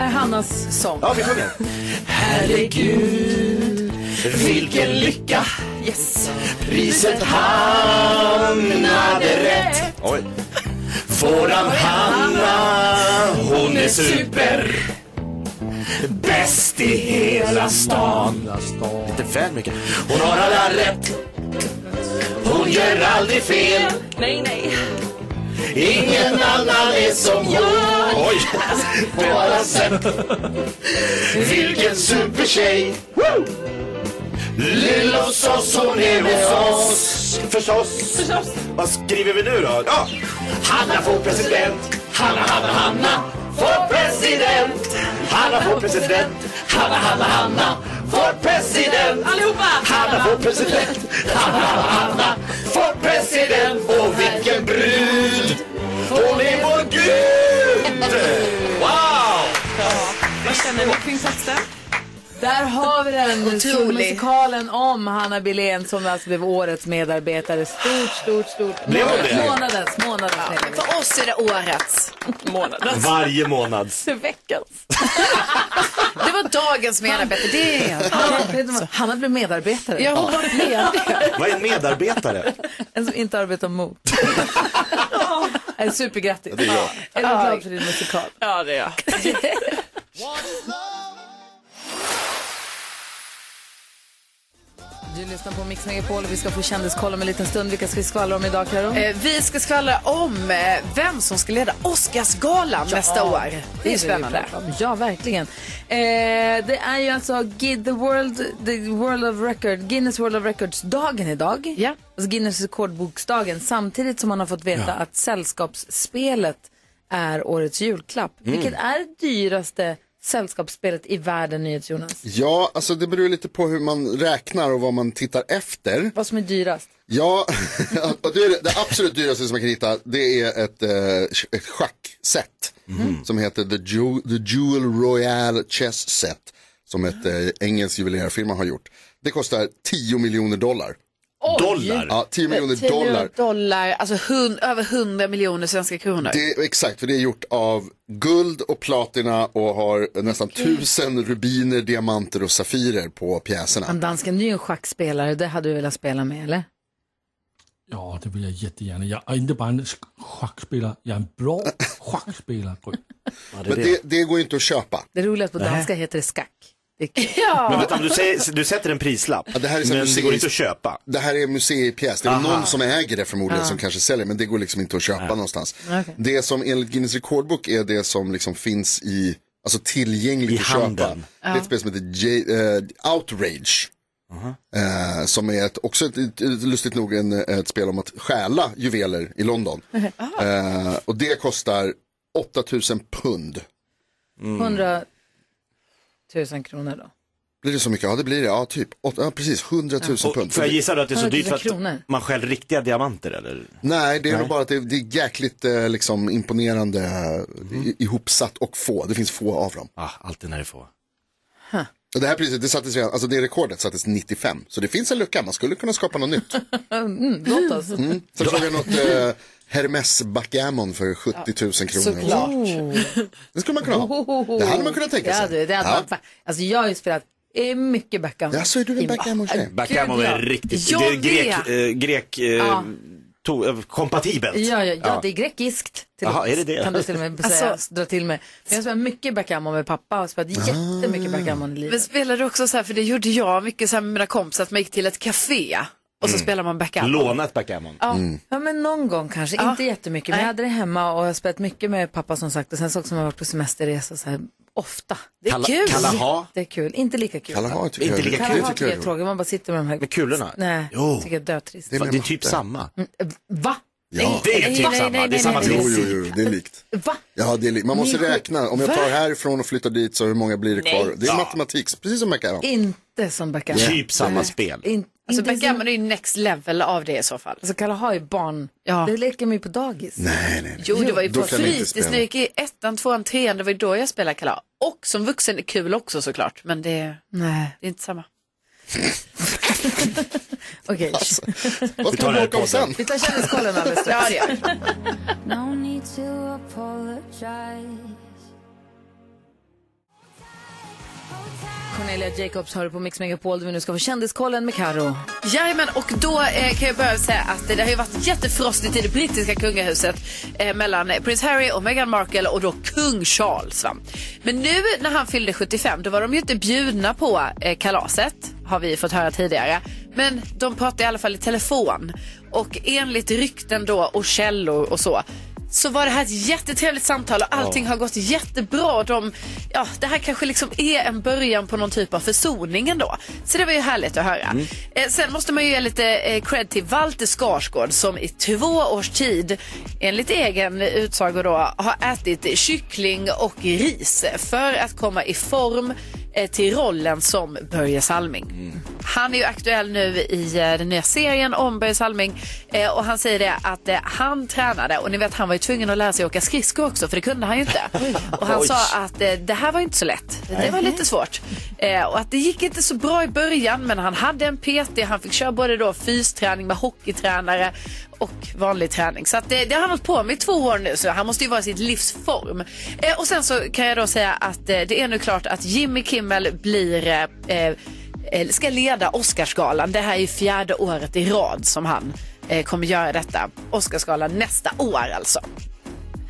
[SPEAKER 2] Är Hannas sång.
[SPEAKER 5] Ja, vi sjunger.
[SPEAKER 9] Herregud,
[SPEAKER 5] Vilken lycka,
[SPEAKER 9] Yes.
[SPEAKER 5] priset hamnade rätt. Oj. Våran Hanna, hon är super. Bäst i hela stan. Lite väl mycket. Hon har alla rätt. Hon gör aldrig fel.
[SPEAKER 9] Nej, nej.
[SPEAKER 5] Ingen annan är som jag. Oj. Bara Sepp. Vilken supertjej. Woo! Lill hos oss, hon är hos oss. Förstås.
[SPEAKER 9] Förstås.
[SPEAKER 5] Vad skriver vi nu då? Ja. Hanna får president. Hanna, Hanna, Hanna får president. Hanna får president. Hanna, Hanna, Hanna får president.
[SPEAKER 9] Allihopa!
[SPEAKER 5] Hanna får president. Hanna, Hanna, Hanna får president. Och vilken brud. Hon är vår gud. Wow!
[SPEAKER 9] Vad känner ni kring texten?
[SPEAKER 2] Där har vi den!
[SPEAKER 6] Otrolig.
[SPEAKER 2] Musikalen om Hanna Billén som alltså blev årets medarbetare. Stort, stort, stort.
[SPEAKER 5] Blev hon det?
[SPEAKER 2] Månadens, månadens medarbetare.
[SPEAKER 6] För oss är det årets.
[SPEAKER 9] Månadens.
[SPEAKER 5] Varje månads.
[SPEAKER 9] Veckans.
[SPEAKER 6] Det var dagens medarbetare. Det är en.
[SPEAKER 2] Hanna, vet du vad? Hanna blev medarbetare.
[SPEAKER 6] Jag har varit med.
[SPEAKER 5] Vad är en medarbetare?
[SPEAKER 2] En som inte arbetar mot. Nej, Supergrattis.
[SPEAKER 7] Det är jag.
[SPEAKER 2] Är du glad för din musikal?
[SPEAKER 9] Ja, det är jag.
[SPEAKER 2] Du lyssnar på Mix Megapol och vi ska få kändiskoll om en liten stund. Vilka ska vi skvallra om idag, Karo?
[SPEAKER 6] Eh, vi ska skvallra om eh, vem som ska leda Oscarsgalan nästa år. Det är ju
[SPEAKER 2] vi
[SPEAKER 6] spännande.
[SPEAKER 2] pratar om. Ja, verkligen. Eh, det är ju alltså Gid- the World, the World of Record, Guinness World of Records-dagen idag. Ja. Alltså Guinness rekordboksdagen. Samtidigt som man har fått veta
[SPEAKER 1] Ja.
[SPEAKER 2] att sällskapsspelet är årets julklapp.
[SPEAKER 7] Mm.
[SPEAKER 2] Vilket är det dyraste sällskapsspelet i världen, NyhetsJonas?
[SPEAKER 7] Ja, alltså det beror lite på hur man räknar och vad man tittar efter.
[SPEAKER 2] Vad som är dyrast?
[SPEAKER 7] Ja, och det, är det- det absolut dyraste som man kan hitta det är ett, eh, ett schackset som heter The, Ju- The Jewel Royal Chess Set som ett eh, engelskt juvelerarfirma har gjort. Det kostar 10 miljoner dollar.
[SPEAKER 6] Oj!
[SPEAKER 7] Ja, 10 miljoner
[SPEAKER 6] 10
[SPEAKER 7] dollar.
[SPEAKER 6] dollar, alltså hun, över 100 miljoner svenska kronor.
[SPEAKER 7] Det, exakt, för det är gjort av guld och platina och har nästan tusen rubiner, diamanter och safirer på pjäserna.
[SPEAKER 2] Han dansken, du är ju en schackspelare. Det hade du velat spela med, eller?
[SPEAKER 4] Ja, det vill jag jättegärna. Jag är inte bara en sk- schackspelare, jag är en bra schackspelare. Gry.
[SPEAKER 7] Men det, det går ju inte att köpa.
[SPEAKER 2] Det roliga är att på
[SPEAKER 5] Nej.
[SPEAKER 2] danska heter det skack. Det är kul.
[SPEAKER 5] Men vänta, du, säger, du sätter en prislapp,
[SPEAKER 7] Ja, det här är så här
[SPEAKER 5] men det
[SPEAKER 7] musik-
[SPEAKER 5] går inte att köpa.
[SPEAKER 7] Det här är en museipjäs, det är
[SPEAKER 5] Aha.
[SPEAKER 7] någon som äger det förmodligen
[SPEAKER 5] Ja.
[SPEAKER 7] som kanske säljer men det går liksom inte att köpa någonstans.
[SPEAKER 5] Okej.
[SPEAKER 7] Det som enligt Guinness rekordbok är det som liksom finns i, alltså tillgängligt
[SPEAKER 5] I
[SPEAKER 7] att köpa.
[SPEAKER 5] handeln.
[SPEAKER 7] Det är ett spel som heter J- eh, Outrage. Eh, som är ett, också ett, ett, ett, lustigt nog en, ett spel om att stjäla juveler i London. Eh, och det kostar 8000 pund.
[SPEAKER 2] 100 000 kronor då.
[SPEAKER 7] Blir det så mycket? Ja det blir det, ja typ. Åt, ja, precis, 100 000 pund.
[SPEAKER 5] Och får jag gissa då att det är så
[SPEAKER 2] 100 000
[SPEAKER 5] dyrt för att
[SPEAKER 2] kronor.
[SPEAKER 5] man stjäl riktiga diamanter eller?
[SPEAKER 7] Nej, det är
[SPEAKER 5] Nej.
[SPEAKER 7] nog bara att det, det är jäkligt eh, liksom, imponerande eh, i- ihopsatt och få. Det finns få av dem.
[SPEAKER 5] Ah, alltid när det är få.
[SPEAKER 7] Och Det här priset, det, sattes redan, alltså det rekordet sattes 95, så det finns en lucka, man skulle kunna skapa något nytt.
[SPEAKER 2] Mm, låt oss.
[SPEAKER 7] Mm. Sen såg jag något eh, Hermes backgammon för 70 000 kronor. Oh.
[SPEAKER 2] Såklart. Oh.
[SPEAKER 7] Det skulle man kunna ha. Det hade man kunnat tänka
[SPEAKER 2] Ja,
[SPEAKER 7] sig.
[SPEAKER 2] du, det hade varit fan. Alltså jag har ju spelat eh, mycket backgammon.
[SPEAKER 7] Ja, så är du en backgammon-tjej?
[SPEAKER 5] Backgammon är riktigt, det är grek, eh, grek eh,
[SPEAKER 2] Ja.
[SPEAKER 5] to, eh, kompatibelt.
[SPEAKER 2] Ja, ja, ja, det är grekiskt. Till
[SPEAKER 5] Jaha, är det det?
[SPEAKER 2] Kan du till och med säga,
[SPEAKER 6] Alltså-
[SPEAKER 2] dra till med. Men jag spelar mycket backgammon med pappa och spelat
[SPEAKER 7] Ah.
[SPEAKER 2] jättemycket backgammon i
[SPEAKER 6] Men
[SPEAKER 2] livet.
[SPEAKER 6] spelar du också så här, för det gjorde jag mycket så här med mina kompisar, att man gick till ett café och så
[SPEAKER 5] Mm.
[SPEAKER 6] spelar man backgammon.
[SPEAKER 5] Lånat backgammon.
[SPEAKER 2] Ja. ja, men någon gång kanske. Inte jättemycket. Men jag hade det hemma och jag har spelat mycket med pappa som sagt. Och sen så också har jag varit på semesterresa så här ofta. Det är
[SPEAKER 5] Kala-
[SPEAKER 2] kul.
[SPEAKER 5] Kalaha?
[SPEAKER 2] Det är kul. Inte lika kul.
[SPEAKER 7] Kalaha tycker jag
[SPEAKER 5] Inte lika
[SPEAKER 2] Kalaha
[SPEAKER 5] kul.
[SPEAKER 2] tycker jag är tråkigt. Man bara sitter med de här.
[SPEAKER 5] Med kulorna?
[SPEAKER 2] Nej,
[SPEAKER 5] Jo.
[SPEAKER 2] tycker jag är dötrist.
[SPEAKER 5] Det är, det är typ samma.
[SPEAKER 2] Va?
[SPEAKER 7] Ja.
[SPEAKER 5] Det är typ samma. det är samma
[SPEAKER 7] Jo,
[SPEAKER 5] princip.
[SPEAKER 7] jo, jo, det är likt.
[SPEAKER 2] Va?
[SPEAKER 7] Ja, det är likt. Man måste
[SPEAKER 2] Ni-
[SPEAKER 7] räkna. Om jag
[SPEAKER 2] Va?
[SPEAKER 7] tar härifrån och flyttar dit så hur många blir det kvar?
[SPEAKER 2] Nej.
[SPEAKER 7] Det är
[SPEAKER 2] Ja.
[SPEAKER 7] matematik, precis som backgammon.
[SPEAKER 2] Inte som backgammon.
[SPEAKER 7] Typ samma
[SPEAKER 2] Nej.
[SPEAKER 7] spel.
[SPEAKER 2] In,
[SPEAKER 6] Alltså
[SPEAKER 2] inte
[SPEAKER 6] backgammon är ju next level av det i så fall.
[SPEAKER 2] Alltså Kalaha är barn. Ja. Det leker man ju på dagis.
[SPEAKER 7] Nej, nej.
[SPEAKER 6] Jo, det var ju
[SPEAKER 2] Då
[SPEAKER 6] på
[SPEAKER 2] kan man inte
[SPEAKER 6] fritids
[SPEAKER 2] spela.
[SPEAKER 6] när jag gick i ettan, tvåan, trean, det var ju då jag spelade kalas. Och som vuxen är kul också såklart, men det,
[SPEAKER 2] Nej.
[SPEAKER 6] det är inte samma.
[SPEAKER 2] Okej.
[SPEAKER 5] Alltså.
[SPEAKER 7] Vad ska vi bråka om sen?
[SPEAKER 2] Vi tar kändiskollen alldeles
[SPEAKER 6] Ja,
[SPEAKER 2] strax.
[SPEAKER 6] det gör vi.
[SPEAKER 10] No need to apologize.
[SPEAKER 2] Cornelia Jacobs hör på Mix Megapol där vi nu ska få kändiskollen med Karo.
[SPEAKER 6] Jajamän, och då eh, kan jag börja säga att det har ju varit jättefrostigt i det brittiska kungahuset eh, mellan eh, prins Harry och Meghan Markle och då kung Charles. Va? Men nu när han fyllde 75, då var de ju inte bjudna på eh, kalaset, har vi fått höra tidigare. Men de pratade i alla fall i telefon. Och enligt rykten då och källor och så så var det här ett jättetrevligt samtal och allting
[SPEAKER 1] Ja.
[SPEAKER 6] har gått jättebra. Och De, ja, det här kanske liksom är en början på någon typ av försoning ändå. Så det var ju härligt att höra. Eh, sen måste man ju ge lite eh, cred till Walter Skarsgård som i två års tid, enligt egen utsago då, har ätit kyckling och ris för att komma i form eh, till rollen som Börje Salming. Han är ju aktuell nu i eh, den nya serien om Börje Salming eh, och han säger det att eh, han tränade och ni vet han var ju tvungen att lära sig åka skridskor också för det kunde han ju inte. Och han
[SPEAKER 1] Oj.
[SPEAKER 6] sa att eh, det här var inte så lätt. Det var lite svårt. Eh, och att det gick inte så bra i början men han hade en PT, han fick köra både då fysträning med hockeytränare och vanlig träning. Så att eh, det, det har han hållit på med i två år nu så han måste ju vara i sitt livsform. Eh, och sen så kan jag då säga att eh, det är nu klart att Jimmy Kimmel blir eh, eh, eh, ska leda Oscarsgalan. Det här är ju fjärde året i rad som han eh, kommer göra detta. Oscarsgalan nästa år alltså.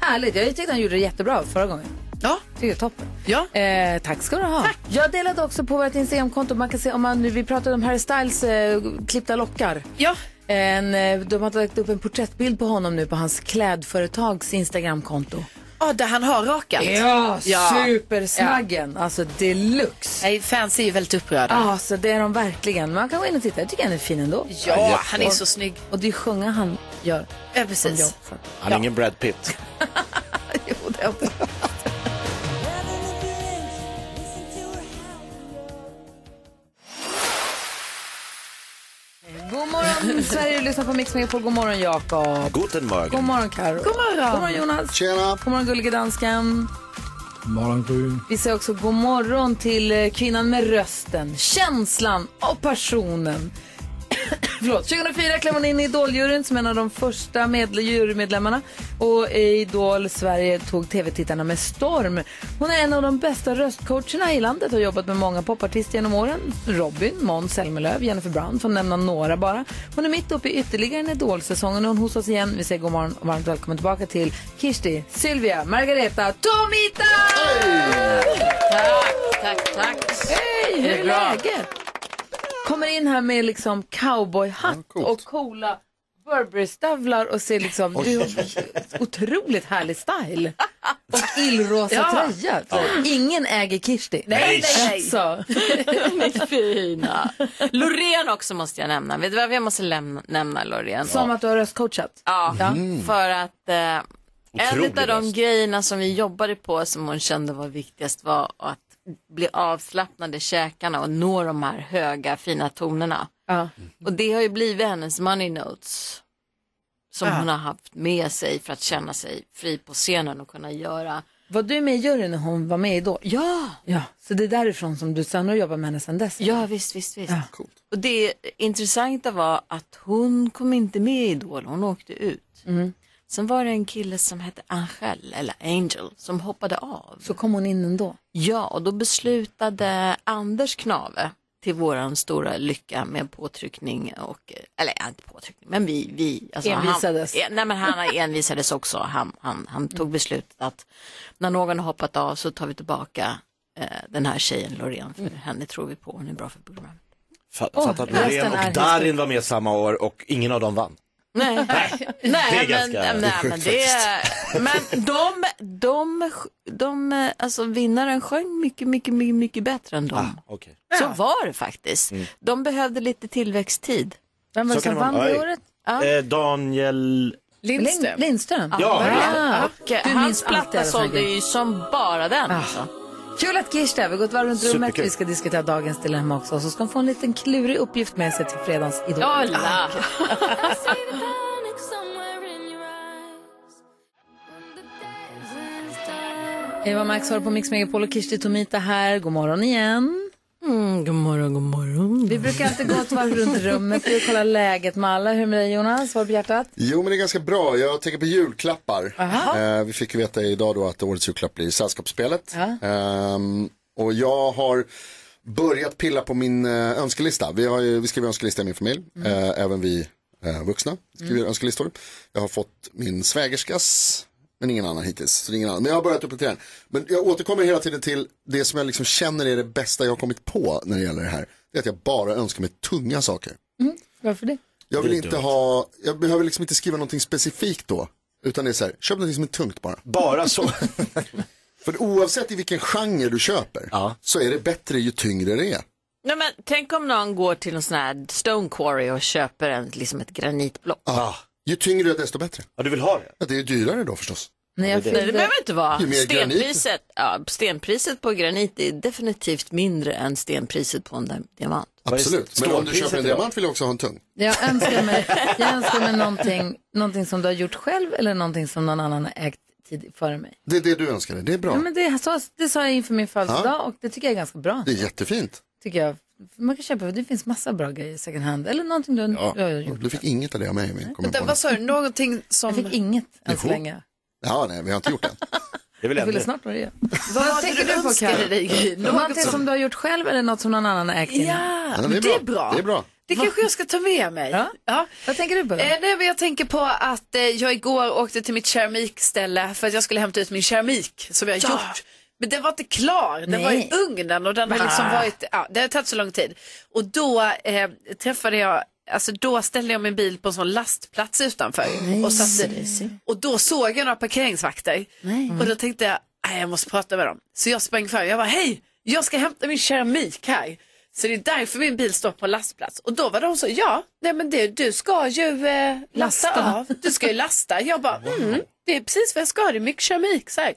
[SPEAKER 2] Härligt, jag tyckte han gjorde det jättebra förra gången.
[SPEAKER 6] Ja.
[SPEAKER 2] Det är toppen. Ja. Eh, tack ska du ha. Jag delade också på vårt Instagramkonto. Man kan se om man nu, vi pratade om Harry Styles eh, klippta lockar.
[SPEAKER 6] Ja.
[SPEAKER 2] En, eh, de har lagt upp en porträttbild på honom nu på hans klädföretags Instagramkonto.
[SPEAKER 6] Ja, där han har rakat.
[SPEAKER 2] Ja, supersnaggen. Alltså deluxe.
[SPEAKER 6] Nej, fans är ju väldigt upprörda.
[SPEAKER 2] Ja, så det är de verkligen. Man kan gå in och titta. Jag tycker han är fin ändå.
[SPEAKER 6] Ja, Ja, han är så snygg.
[SPEAKER 2] Och det är sjunga han gör.
[SPEAKER 6] Ja, precis.
[SPEAKER 5] Han är ingen Brad Pitt.
[SPEAKER 2] God morgon Sverige, du lyssnar på Mix Megapol. God morgon Jakob.
[SPEAKER 5] Guten Morgen.
[SPEAKER 2] God morgon Karo.
[SPEAKER 6] God morgon.
[SPEAKER 2] God morgon Jonas.
[SPEAKER 7] Tjena.
[SPEAKER 2] God morgon gullige dansken.
[SPEAKER 4] Morgongry.
[SPEAKER 2] Vi säger också god morgon till eh, kvinnan med rösten, känslan och personen. Förlåt. 2004 klev hon in i Idoljuryn som en av de första medle- jurymedlemmarna. Och i Idol Sverige tog tv-tittarna med storm. Hon är en av de bästa röstcoacherna i landet och har jobbat med många popartister genom åren. Robin, Måns Zelmerlöw, Jennifer Brown, för att nämna några bara. Hon är mitt uppe i ytterligare en Idol-säsong och nu är hon hos oss igen. Vi säger god morgon och varmt välkommen tillbaka till Kirsti, Sylvia, Margareta, Tomita!
[SPEAKER 1] Tack, tack.
[SPEAKER 2] Hej, hur
[SPEAKER 1] Är det
[SPEAKER 2] är
[SPEAKER 1] bra?
[SPEAKER 2] läget? Kommer in här med liksom cowboyhatt och coola Burberry-stövlar och ser liksom, du har otroligt härlig style. Och illrosa
[SPEAKER 1] Ja.
[SPEAKER 2] tröja.
[SPEAKER 1] Ja.
[SPEAKER 2] Ingen äger Kirsti.
[SPEAKER 1] Nej, nej, nej.
[SPEAKER 2] Alltså.
[SPEAKER 1] Ni är fina. Loreen också måste jag nämna. Vet du varför jag måste lämna, nämna Loreen?
[SPEAKER 2] Som att du har röstcoachat.
[SPEAKER 1] Ja,
[SPEAKER 2] Mm.
[SPEAKER 1] för att eh, en
[SPEAKER 2] Otrolig
[SPEAKER 1] av de
[SPEAKER 2] röst.
[SPEAKER 1] grejerna som vi jobbade på som hon kände var viktigast var att bli avslappnad i käkarna och nå de här höga fina tonerna.
[SPEAKER 2] Ja.
[SPEAKER 1] Och det har ju blivit hennes money notes som
[SPEAKER 2] Ja.
[SPEAKER 1] hon har haft med sig för att känna sig fri på scenen och kunna göra.
[SPEAKER 2] Var du med i juryn när hon var med då?
[SPEAKER 1] Ja!
[SPEAKER 2] ja. Så det är därifrån som du sen har jobbat med henne sen dess?
[SPEAKER 1] Ja, visst, visst, visst. Och det intressanta var att hon kom inte med i Idol, hon åkte ut. Sen var det en kille som hette Angel, eller Angel, som hoppade av.
[SPEAKER 2] Så kom hon in ändå?
[SPEAKER 1] Ja, och då beslutade Anders Knave till våran stora lycka med påtryckning och, eller ja, inte påtryckning, men vi, vi alltså,
[SPEAKER 2] Envisades.
[SPEAKER 1] Han, nej men han envisades också, han, han, han tog beslutet att när någon har hoppat av så tar vi tillbaka eh, den här tjejen Loreen, för henne tror vi på, hon är bra för programmet.
[SPEAKER 5] Fa-
[SPEAKER 1] Åh,
[SPEAKER 5] Fattar att
[SPEAKER 1] resten
[SPEAKER 5] Loreen
[SPEAKER 1] är
[SPEAKER 5] och Darin var med samma år och ingen av dem vann.
[SPEAKER 1] Nej,
[SPEAKER 5] Det
[SPEAKER 1] nej
[SPEAKER 5] är
[SPEAKER 1] men,
[SPEAKER 5] ganska-
[SPEAKER 1] nej, men det är, men de, de, de, eh, alltså vinnaren sjöng mycket, mycket, mycket, mycket bättre än dem.
[SPEAKER 5] Okej.
[SPEAKER 1] Så var det faktiskt.
[SPEAKER 5] Mm.
[SPEAKER 1] De behövde lite tillväxttid.
[SPEAKER 2] Vem
[SPEAKER 5] Så kan det vara. Oj.
[SPEAKER 1] Ja.
[SPEAKER 5] Eh, Daniel...
[SPEAKER 2] Lindström. Lindström.
[SPEAKER 5] Ja, Ah.
[SPEAKER 2] Ah,
[SPEAKER 1] Och eh,
[SPEAKER 2] du minns
[SPEAKER 1] hans
[SPEAKER 2] allt i
[SPEAKER 1] platta
[SPEAKER 2] alla fall.
[SPEAKER 1] sålde ju som bara den. Alltså.
[SPEAKER 2] Kul att Kirsti är här. Vi har gått varv runt rummet.
[SPEAKER 1] Superkul.
[SPEAKER 2] Vi ska diskutera dagens dilemma också. Så ska hon få en liten klurig uppgift med sig till fredagens Idol.
[SPEAKER 1] Jalla!
[SPEAKER 2] Eva Max har på Mix Megapol och Kirsti Tomita här. God morgon igen.
[SPEAKER 1] Mm, god morgon, god morgon.
[SPEAKER 2] Vi brukar alltid gå ett varv runt rummet och kolla läget med alla. Hur är det med dig Jonas? Vad har du på hjärtat?
[SPEAKER 7] Jo, men det är ganska bra. Jag tänker på julklappar.
[SPEAKER 2] Aha.
[SPEAKER 7] Eh, vi fick ju veta idag då att årets julklapp blir Sällskapsspelet.
[SPEAKER 2] Ja.
[SPEAKER 7] Ehm, och jag har börjat pilla på min eh, önskelista. Vi, har ju, vi skriver önskelista i min familj,
[SPEAKER 2] Mm.
[SPEAKER 7] eh, även vi eh, vuxna skriver önskelistor. Jag har fått min svägerskas, men ingen annan hittills. Så det är ingen annan. Men jag har börjat uppdatera den. Men jag återkommer hela tiden till det som jag liksom känner är det bästa jag har kommit på när det gäller det här. Det är att jag bara önskar mig tunga saker.
[SPEAKER 2] Varför det?
[SPEAKER 7] Jag vill
[SPEAKER 2] Det är
[SPEAKER 7] inte
[SPEAKER 2] dumt.
[SPEAKER 7] ha, jag behöver liksom inte skriva någonting specifikt då. Utan det är så här, köp någonting som är tungt bara.
[SPEAKER 5] Bara så?
[SPEAKER 7] För oavsett i vilken genre du köper så är det bättre ju tyngre det är.
[SPEAKER 1] Nej, men, tänk om någon går till en sån här stone quarry och köper en, liksom ett granitblock.
[SPEAKER 2] Ah.
[SPEAKER 7] Ja. Ju tyngre desto bättre.
[SPEAKER 5] Ja, du vill ha det?
[SPEAKER 7] Ja, det är ju dyrare då förstås.
[SPEAKER 2] Nej, jag
[SPEAKER 1] Nej, det behöver inte vara.
[SPEAKER 7] Ju mer granit.
[SPEAKER 1] Stenpriset, ja, stenpriset på granit är definitivt mindre än stenpriset på en di- diamant.
[SPEAKER 7] Absolut, men om du köper en diamant vill jag också ha en tung.
[SPEAKER 2] Jag önskar mig, jag önskar mig någonting, någonting som du har gjort själv eller någonting som någon annan har ägt tid före mig.
[SPEAKER 7] Det är det du önskar dig, det är bra.
[SPEAKER 2] Ja, men det, sa, det sa jag inför min födelsedag
[SPEAKER 7] Ja.
[SPEAKER 2] och det tycker jag är ganska bra.
[SPEAKER 7] Det är jättefint.
[SPEAKER 2] Tycker jag. Man kan köpa, det finns massa bra grejer i second hand. Eller någonting du har
[SPEAKER 7] Ja.
[SPEAKER 2] du har gjort.
[SPEAKER 7] Du fick inget av det av mig. men jag kommer på
[SPEAKER 6] Vänta,
[SPEAKER 7] nu.
[SPEAKER 6] vad sa du? Någonting som...
[SPEAKER 2] Jag fick inget än så
[SPEAKER 7] Jo.
[SPEAKER 2] länge.
[SPEAKER 7] Ja, nej, vi har inte gjort det än.
[SPEAKER 5] Det vill
[SPEAKER 2] Jag ville snart vara det.
[SPEAKER 6] Vad
[SPEAKER 2] Vad
[SPEAKER 6] hade
[SPEAKER 2] tänker
[SPEAKER 6] du
[SPEAKER 2] du på
[SPEAKER 6] önskat
[SPEAKER 2] Karin?
[SPEAKER 6] dig, Gry? Något
[SPEAKER 2] Någonting
[SPEAKER 6] som-
[SPEAKER 2] som du har gjort själv eller något som någon annan har ägt
[SPEAKER 6] Ja,
[SPEAKER 2] innan?
[SPEAKER 6] Ja, det är det är bra. bra. Det är
[SPEAKER 7] bra.
[SPEAKER 6] Det kanske jag ska ta med mig. Ja.
[SPEAKER 2] Vad tänker du på då?
[SPEAKER 6] Eh, nej, men jag tänker på att eh, jag igår åkte till mitt keramikställe för att jag skulle hämta ut min keramik som jag har
[SPEAKER 2] Ja.
[SPEAKER 6] gjort. Men den var inte klar, den
[SPEAKER 2] Nej.
[SPEAKER 6] var i ugnen och den har
[SPEAKER 2] Va?
[SPEAKER 6] liksom varit, ja, det har tagit så lång tid. Och då eh, träffade jag, alltså då ställde jag min bil på en sån lastplats utanför. och, satte, och då såg jag några parkeringsvakter. Och då tänkte jag, nej jag måste prata med dem. Så jag sprang fram, jag var hej, jag ska hämta min keramik här. Så det är därför min bil står på en lastplats. Och då var de så, ja, nej men det, du ska ju eh, lasta,
[SPEAKER 2] Lasta.
[SPEAKER 6] av, du ska ju lasta. Jag bara, mm, det är precis vad jag ska, det är mycket keramik. Så här.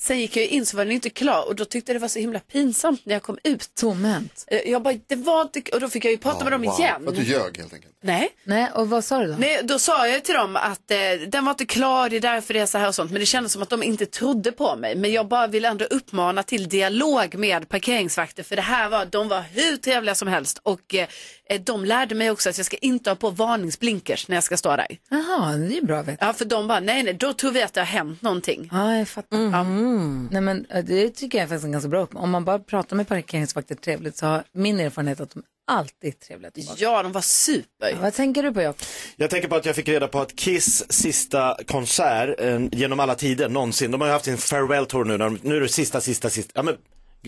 [SPEAKER 6] Sen gick jag in så var den inte klar och då tyckte jag det var så himla pinsamt när jag kom ut. eh,
[SPEAKER 2] Tomhänt.
[SPEAKER 6] Jag bara, det var inte, och då fick jag ju prata med dem igen.
[SPEAKER 7] För att du ljög helt enkelt.
[SPEAKER 6] Nej.
[SPEAKER 2] Nej, och vad sa du då?
[SPEAKER 6] Nej, då sa jag till dem att eh, den var inte klar, det är därför det är så här och sånt. Men det kändes som att de inte trodde på mig. Men jag bara vill ändå uppmana till dialog med parkeringsvakter. För det här var, de var hur trevliga som helst. Och eh, de lärde mig också att jag ska inte ha på varningsblinkers när jag ska stå där.
[SPEAKER 2] Jaha, det är ju bra att veta.
[SPEAKER 6] Ja, för de bara, nej, nej, då tror vi att det har hänt någonting.
[SPEAKER 2] Ja, jag fattar.
[SPEAKER 1] Mm.
[SPEAKER 2] Ja. Nej, men eh, det tycker jag är faktiskt en ganska bra upp. Om man bara pratar med parkeringsvakter trevligt så har min erfarenhet att de alltid är trevliga tillbaka.
[SPEAKER 6] Ja, de var super.
[SPEAKER 2] Vad tänker du på, Jakob?
[SPEAKER 5] Jag tänker på att jag fick reda på att Kiss sista konsert eh, genom alla tider någonsin, de har ju haft sin farewell tour nu, när de, nu är det sista, sista, sista, ja men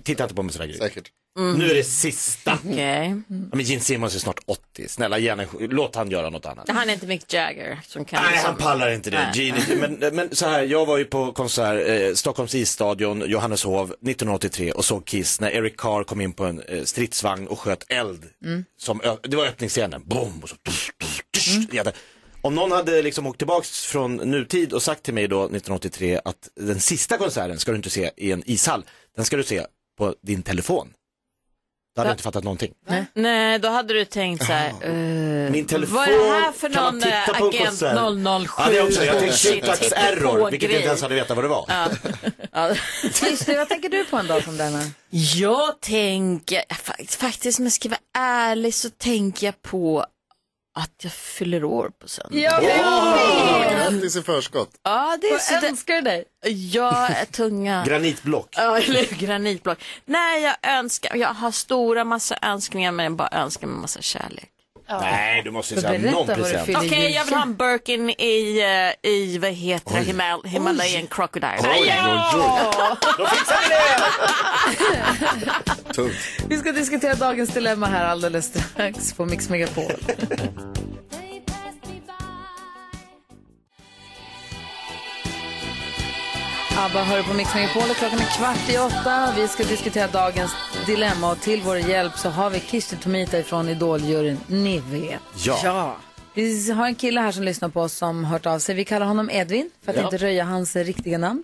[SPEAKER 5] titta inte på mig sådär Gry.
[SPEAKER 7] Säkert.
[SPEAKER 5] Nu är det sista.
[SPEAKER 1] Okej.
[SPEAKER 2] Mm.
[SPEAKER 5] Ja, men Gene Simmons är snart 80, snälla ge han en, ch- låt han göra något annat.
[SPEAKER 1] Han är inte Mick Jagger som kan...
[SPEAKER 5] Nej,
[SPEAKER 1] liksom-
[SPEAKER 5] han pallar inte det.
[SPEAKER 1] Nej.
[SPEAKER 5] Gene, men, men så här, jag var ju på konsert, eh, Stockholms isstadion, Johanneshov 1983 och såg Kiss när Eric Carr kom in på en eh, stridsvagn och sköt eld. Som, ö- det var öppningsscenen, boom, och så tush, tush, tush. Jag hade- Om någon hade liksom åkt tillbaks från nutid och sagt till mig då 1983 att den sista konserten ska du inte se i en ishall, den ska du se på din telefon. Då hade jag inte fattat någonting.
[SPEAKER 1] Nej, då hade du tänkt så här. eh,
[SPEAKER 5] Min telefon
[SPEAKER 1] Vad är det här för
[SPEAKER 5] kan man
[SPEAKER 1] någon
[SPEAKER 5] titta
[SPEAKER 1] eh,
[SPEAKER 5] på
[SPEAKER 1] agent
[SPEAKER 5] konsert?
[SPEAKER 1] 007?
[SPEAKER 5] Ja, det är också, jag
[SPEAKER 1] Shit,
[SPEAKER 5] tänkte tax error,
[SPEAKER 1] hittepågrej.
[SPEAKER 5] vilket jag inte ens hade vetat vad det var.
[SPEAKER 1] Ja. Ja.
[SPEAKER 2] Christer, vad tänker du på en dag som denna?
[SPEAKER 1] Jag tänker, fa- faktiskt om jag ska vara ärlig så tänker jag på att jag fyller år på söndag.
[SPEAKER 2] Ja,
[SPEAKER 7] Grattis i förskott.
[SPEAKER 1] Ja, det är
[SPEAKER 2] Vad
[SPEAKER 1] så det-
[SPEAKER 2] önskar du dig?
[SPEAKER 1] Jag är tunga.
[SPEAKER 5] Granitblock.
[SPEAKER 1] Ja, eller hur? granitblock. Nej, jag önskar, jag har stora massa önskningar men jag bara önskar mig massa kärlek.
[SPEAKER 5] Nej, du
[SPEAKER 1] Så
[SPEAKER 5] måste ju säga
[SPEAKER 1] berätta
[SPEAKER 5] någon
[SPEAKER 1] vad du
[SPEAKER 5] present.
[SPEAKER 1] Okej, jag vill ha en Birkin i, eh, i vad heter det, Himal- Himalayan Crocodile.
[SPEAKER 5] Då fixar vi det!
[SPEAKER 7] Tungt.
[SPEAKER 2] Vi ska diskutera dagens dilemma här alldeles strax på Mix Megapol. Abba hör på Mix Megapol och klockan är kvart i åtta. Vi ska diskutera dagens dilemma och till vår hjälp så har vi Kirsti Tomita ifrån Idoljuryn. Ni vet.
[SPEAKER 5] Ja.
[SPEAKER 2] Vi har en kille här som lyssnar på oss som hört av sig. Vi kallar honom Edvin för att
[SPEAKER 1] Ja.
[SPEAKER 2] inte röja hans eh, riktiga namn.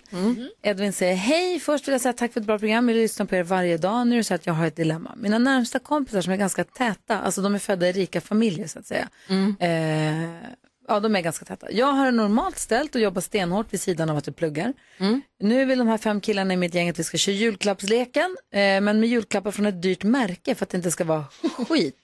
[SPEAKER 2] Edvin säger hej, först vill jag säga tack för ett bra program. Jag lyssnar på er varje dag. Nu är det så att jag har ett dilemma. Mina närmsta kompisar som är ganska täta, alltså de är födda i rika familjer så att säga. Eh, ja, de är ganska täta. Jag har det normalt ställt och jobbar stenhårt vid sidan av att jag pluggar. Nu vill de här fem killarna i mitt gäng att vi ska köra julklappsleken, eh, men med julklappar från ett dyrt märke för att det inte ska vara skit.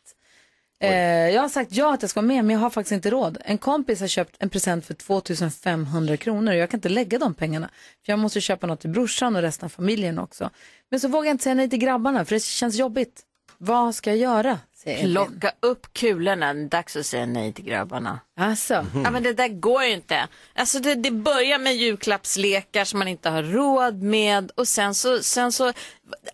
[SPEAKER 2] Eh, jag har sagt ja att jag ska vara med, men jag har faktiskt inte råd. En kompis har köpt en present för 2500 kronor och jag kan inte lägga de pengarna. För jag måste köpa något till brorsan och resten av familjen också. Men så vågar jag inte säga nej till grabbarna, för det känns jobbigt. Vad ska jag göra? säger Edvin.
[SPEAKER 1] Plocka upp kulorna, det är dags att säga nej till grabbarna.
[SPEAKER 2] Alltså,
[SPEAKER 1] Ja men det där går ju inte. Alltså det, det börjar med julklappslekar som man inte har råd med och sen så, sen så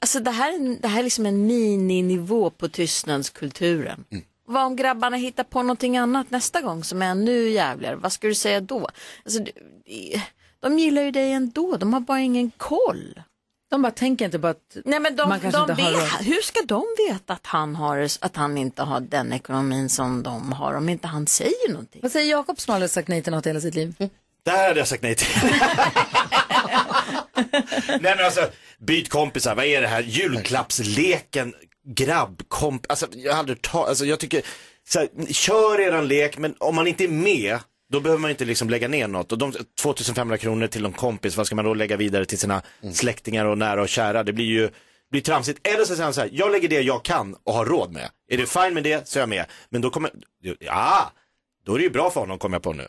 [SPEAKER 1] alltså det här, det här är liksom en mininivå på tystnadskulturen. Vad om grabbarna hittar på någonting annat nästa gång som är ännu jävligare, vad ska du säga då? Alltså, det- det- de gillar ju dig ändå, de har bara ingen koll.
[SPEAKER 2] de bara tänker inte på att
[SPEAKER 1] Nej men de,
[SPEAKER 2] Man kanske
[SPEAKER 1] de
[SPEAKER 2] inte har
[SPEAKER 1] vet,
[SPEAKER 2] råd.
[SPEAKER 1] hur ska de veta att han, har, att han inte har den ekonomin som de har om inte han säger någonting?
[SPEAKER 2] Vad säger Jakob som aldrig har sagt nej till något i hela sitt liv?
[SPEAKER 5] Det här hade jag sagt nej till. nej men alltså, byt kompisar, vad är det här? Julklappsleken, grabbkomp, alltså jag hade ta, alltså jag tycker, så här, kör eran lek men om man inte är med, då behöver man inte liksom lägga ner något. Och de 2500 kronor till någon kompis, vad ska man då lägga vidare till sina släktingar och nära och kära? Det blir ju det blir tramsigt. Eller så säger han så här, jag lägger det jag kan och har råd med. Är det fine med det så är jag med. Men då kommer, ja, då är det ju bra för honom kommer jag på nu.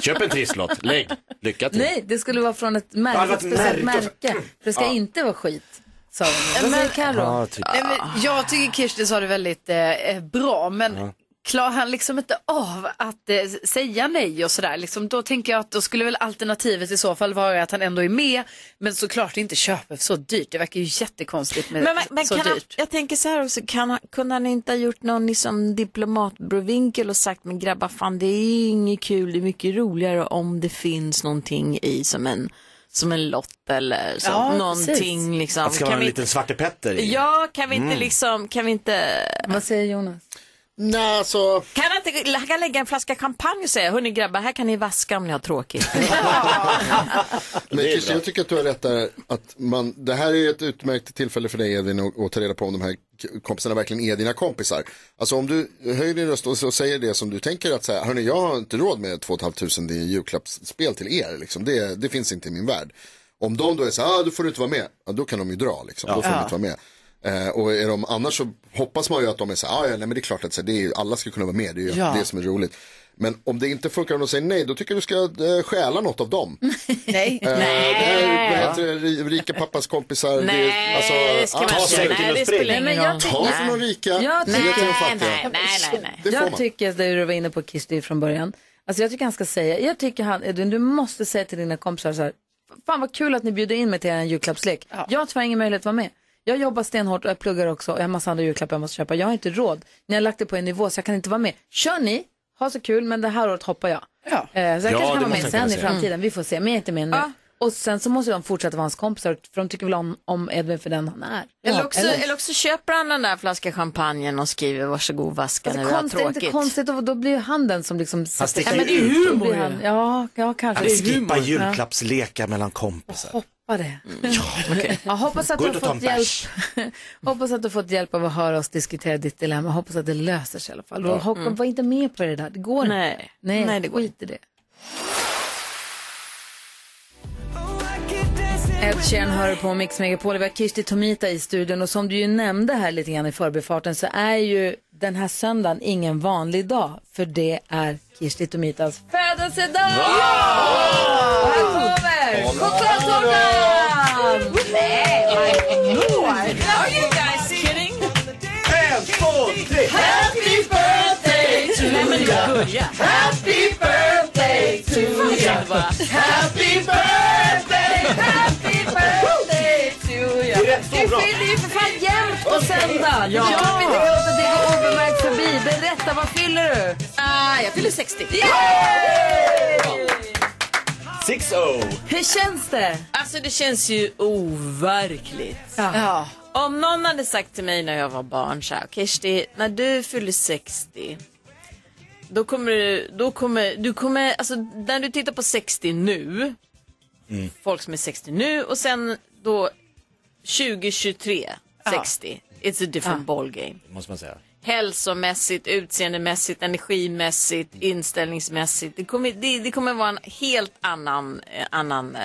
[SPEAKER 5] Köp en trisslott, lägg, lycka till.
[SPEAKER 2] Nej, det skulle vara från ett
[SPEAKER 5] Det hade
[SPEAKER 2] märke,
[SPEAKER 5] varit
[SPEAKER 2] ett speciellt
[SPEAKER 5] märke.
[SPEAKER 2] märke. För det ska
[SPEAKER 5] Ja.
[SPEAKER 2] inte vara skit. sa hon. Vad säger Carro?
[SPEAKER 5] Ja, typ.
[SPEAKER 6] Nej, men jag tycker Kirsti sa det väldigt eh, bra, men
[SPEAKER 5] Ja.
[SPEAKER 6] klarar han liksom inte av att eh, säga nej och sådär. Liksom, då tänker jag att då skulle väl alternativet i så fall vara att han ändå är med, men såklart inte köper för så dyrt. Det verkar ju jättekonstigt med
[SPEAKER 1] Men, men, men
[SPEAKER 6] så
[SPEAKER 1] kan
[SPEAKER 6] dyrt.
[SPEAKER 1] han, jag tänker så här också, kan han, kunde han inte ha gjort någon liksom diplomatbrovinkel och sagt men grabbar fan det är inget kul, det är mycket roligare om det finns någonting i som en, som en lott eller som
[SPEAKER 5] Ja,
[SPEAKER 1] någonting
[SPEAKER 5] precis.
[SPEAKER 1] liksom.
[SPEAKER 5] Att det ska
[SPEAKER 1] Kan
[SPEAKER 5] vara en
[SPEAKER 1] vi-
[SPEAKER 5] liten Svarte Petter i.
[SPEAKER 1] Ja, kan vi inte
[SPEAKER 5] Mm.
[SPEAKER 1] liksom, kan vi inte...
[SPEAKER 2] Vad säger Jonas?
[SPEAKER 7] Nej, alltså...
[SPEAKER 1] Kan han inte han kan lägga en flaska champagne och säga, hörni grabbar, här kan ni vaska om ni har tråkigt.
[SPEAKER 7] Men Kirsten, jag tycker att du har rätt där. Att man, det här är ett utmärkt tillfälle för dig Edvin att, att ta reda på om de här k- kompisarna verkligen är dina kompisar. Alltså om du höjer din röst och så säger det som du tänker att så här, hörni, jag har inte råd med 2 500 i julklappsspel till er. Liksom. Det, det finns inte i min värld. Om de då är så här, ah, då får du inte vara med, ja, då kan de ju dra liksom. Då får de
[SPEAKER 11] Ja.
[SPEAKER 7] inte vara med. Eh, och är de, annars så hoppas man ju att de är så här, ah, ja, nej, men det är klart att så här, det är, ju- alla ska kunna vara med, det är ju
[SPEAKER 11] Ja.
[SPEAKER 7] det som är roligt. Men om det inte funkar och de säger nej, då tycker jag du ska eh, stjäla något av dem.
[SPEAKER 11] Mm.
[SPEAKER 2] Nej.
[SPEAKER 7] Eh, det här, vad heter det, rika pappas kompisar. det är-
[SPEAKER 2] Nej, det ska man
[SPEAKER 7] ah,
[SPEAKER 2] inte göra. Nej, det spelar ingen Nej, men jag roll.
[SPEAKER 7] Ta
[SPEAKER 2] tänker-
[SPEAKER 7] från de rika,
[SPEAKER 2] Jag
[SPEAKER 7] ge till de
[SPEAKER 2] tycker,
[SPEAKER 7] fattiga. Det får
[SPEAKER 2] jag
[SPEAKER 7] man.
[SPEAKER 2] tycker det du var inne på Kirsti från början. Alltså jag tycker han ska säga, jag tycker han, Edvin, du måste säga till dina kompisar så här, fan vad kul att ni bjuder in mig till en julklappslek. Jag har tyvärr ingen möjlighet att vara med. Jag jobbar stenhårt och jag pluggar också och jag har massa andra julklappar jag måste köpa. Jag har inte råd. Ni har lagt det på en nivå så jag kan inte vara med. Kör ni, ha så kul, men det här året hoppar jag. Ja. Så jag kanske
[SPEAKER 6] det
[SPEAKER 2] kan vara
[SPEAKER 6] måste
[SPEAKER 2] med
[SPEAKER 6] han
[SPEAKER 2] sen i
[SPEAKER 6] kunna säga.
[SPEAKER 2] framtiden. Vi får se, men jag är inte med nu. Och sen så måste de fortsätta vara hans kompisar, för de tycker väl om, om Edvin för den han är.
[SPEAKER 1] Eller, också, eller också köper han den där flaskan champagnen och skriver varsågod vaska när
[SPEAKER 2] Alltså,
[SPEAKER 1] vi har
[SPEAKER 2] konstigt, det är inte
[SPEAKER 1] tråkigt.
[SPEAKER 2] konstigt, och då blir ju han den som liksom... sätter-
[SPEAKER 5] sticker
[SPEAKER 2] Ja,
[SPEAKER 5] ju ut då.
[SPEAKER 2] Då blir han- Ja, ja, kanske.
[SPEAKER 5] Att skippa julklappslekar mellan kompisar.
[SPEAKER 2] Ja, det. Ja, hoppas att
[SPEAKER 5] Mm. Gå
[SPEAKER 2] du
[SPEAKER 5] ut
[SPEAKER 2] har
[SPEAKER 5] och ta
[SPEAKER 2] fått
[SPEAKER 5] en
[SPEAKER 2] hjälp. hoppas att du har fått hjälp av att höra oss diskutera ditt dilemma. Hoppas att det löser sig i alla fall.
[SPEAKER 1] Ja.
[SPEAKER 2] Och Håkan,
[SPEAKER 1] Mm.
[SPEAKER 2] var inte med på det där. Det går
[SPEAKER 1] Nej.
[SPEAKER 2] inte. Nej,
[SPEAKER 1] Nej, det går
[SPEAKER 2] skit i det. Ed Sheeran hör på Mix Megapol. Vi har Kirsti Tomita i studion och som du ju nämnde här lite grann i förbifarten så är ju den här söndagen ingen vanlig dag för det är Kirsti Tomitas födelsedag! Och här kommer chokladtårtan! Nej, my lord! Are you guys kidding?
[SPEAKER 5] En, två, tre!
[SPEAKER 8] Happy birthday to
[SPEAKER 1] Nej, men
[SPEAKER 8] ya.
[SPEAKER 1] börja.
[SPEAKER 8] Happy birthday to ya. Happy birthday, happy birthday to ya.
[SPEAKER 2] Du fyller ju för fan jämnt på söndag!
[SPEAKER 8] Ja.
[SPEAKER 2] Du kan inte låta det gå obemärkt förbi. Berätta, vad fyller du?
[SPEAKER 6] Ah, jag fyller 60.
[SPEAKER 5] Six oh.
[SPEAKER 2] Hur känns det?
[SPEAKER 1] Alltså det känns ju overkligt.
[SPEAKER 2] Ja.
[SPEAKER 1] Om någon hade sagt till mig när jag var barn så här, Kirsti, när du fyller 60, då kommer du, då kommer, du kommer, alltså när du tittar på 60 nu,
[SPEAKER 8] Mm.
[SPEAKER 1] folk som är 60 nu och sen då 2023,
[SPEAKER 8] Ja.
[SPEAKER 1] 60, it's a different ballgame.
[SPEAKER 5] Måste man säga.
[SPEAKER 1] Hälsomässigt, utseendemässigt, energimässigt, inställningsmässigt. Det kommer, det, det kommer vara en helt annan, eh, annan eh,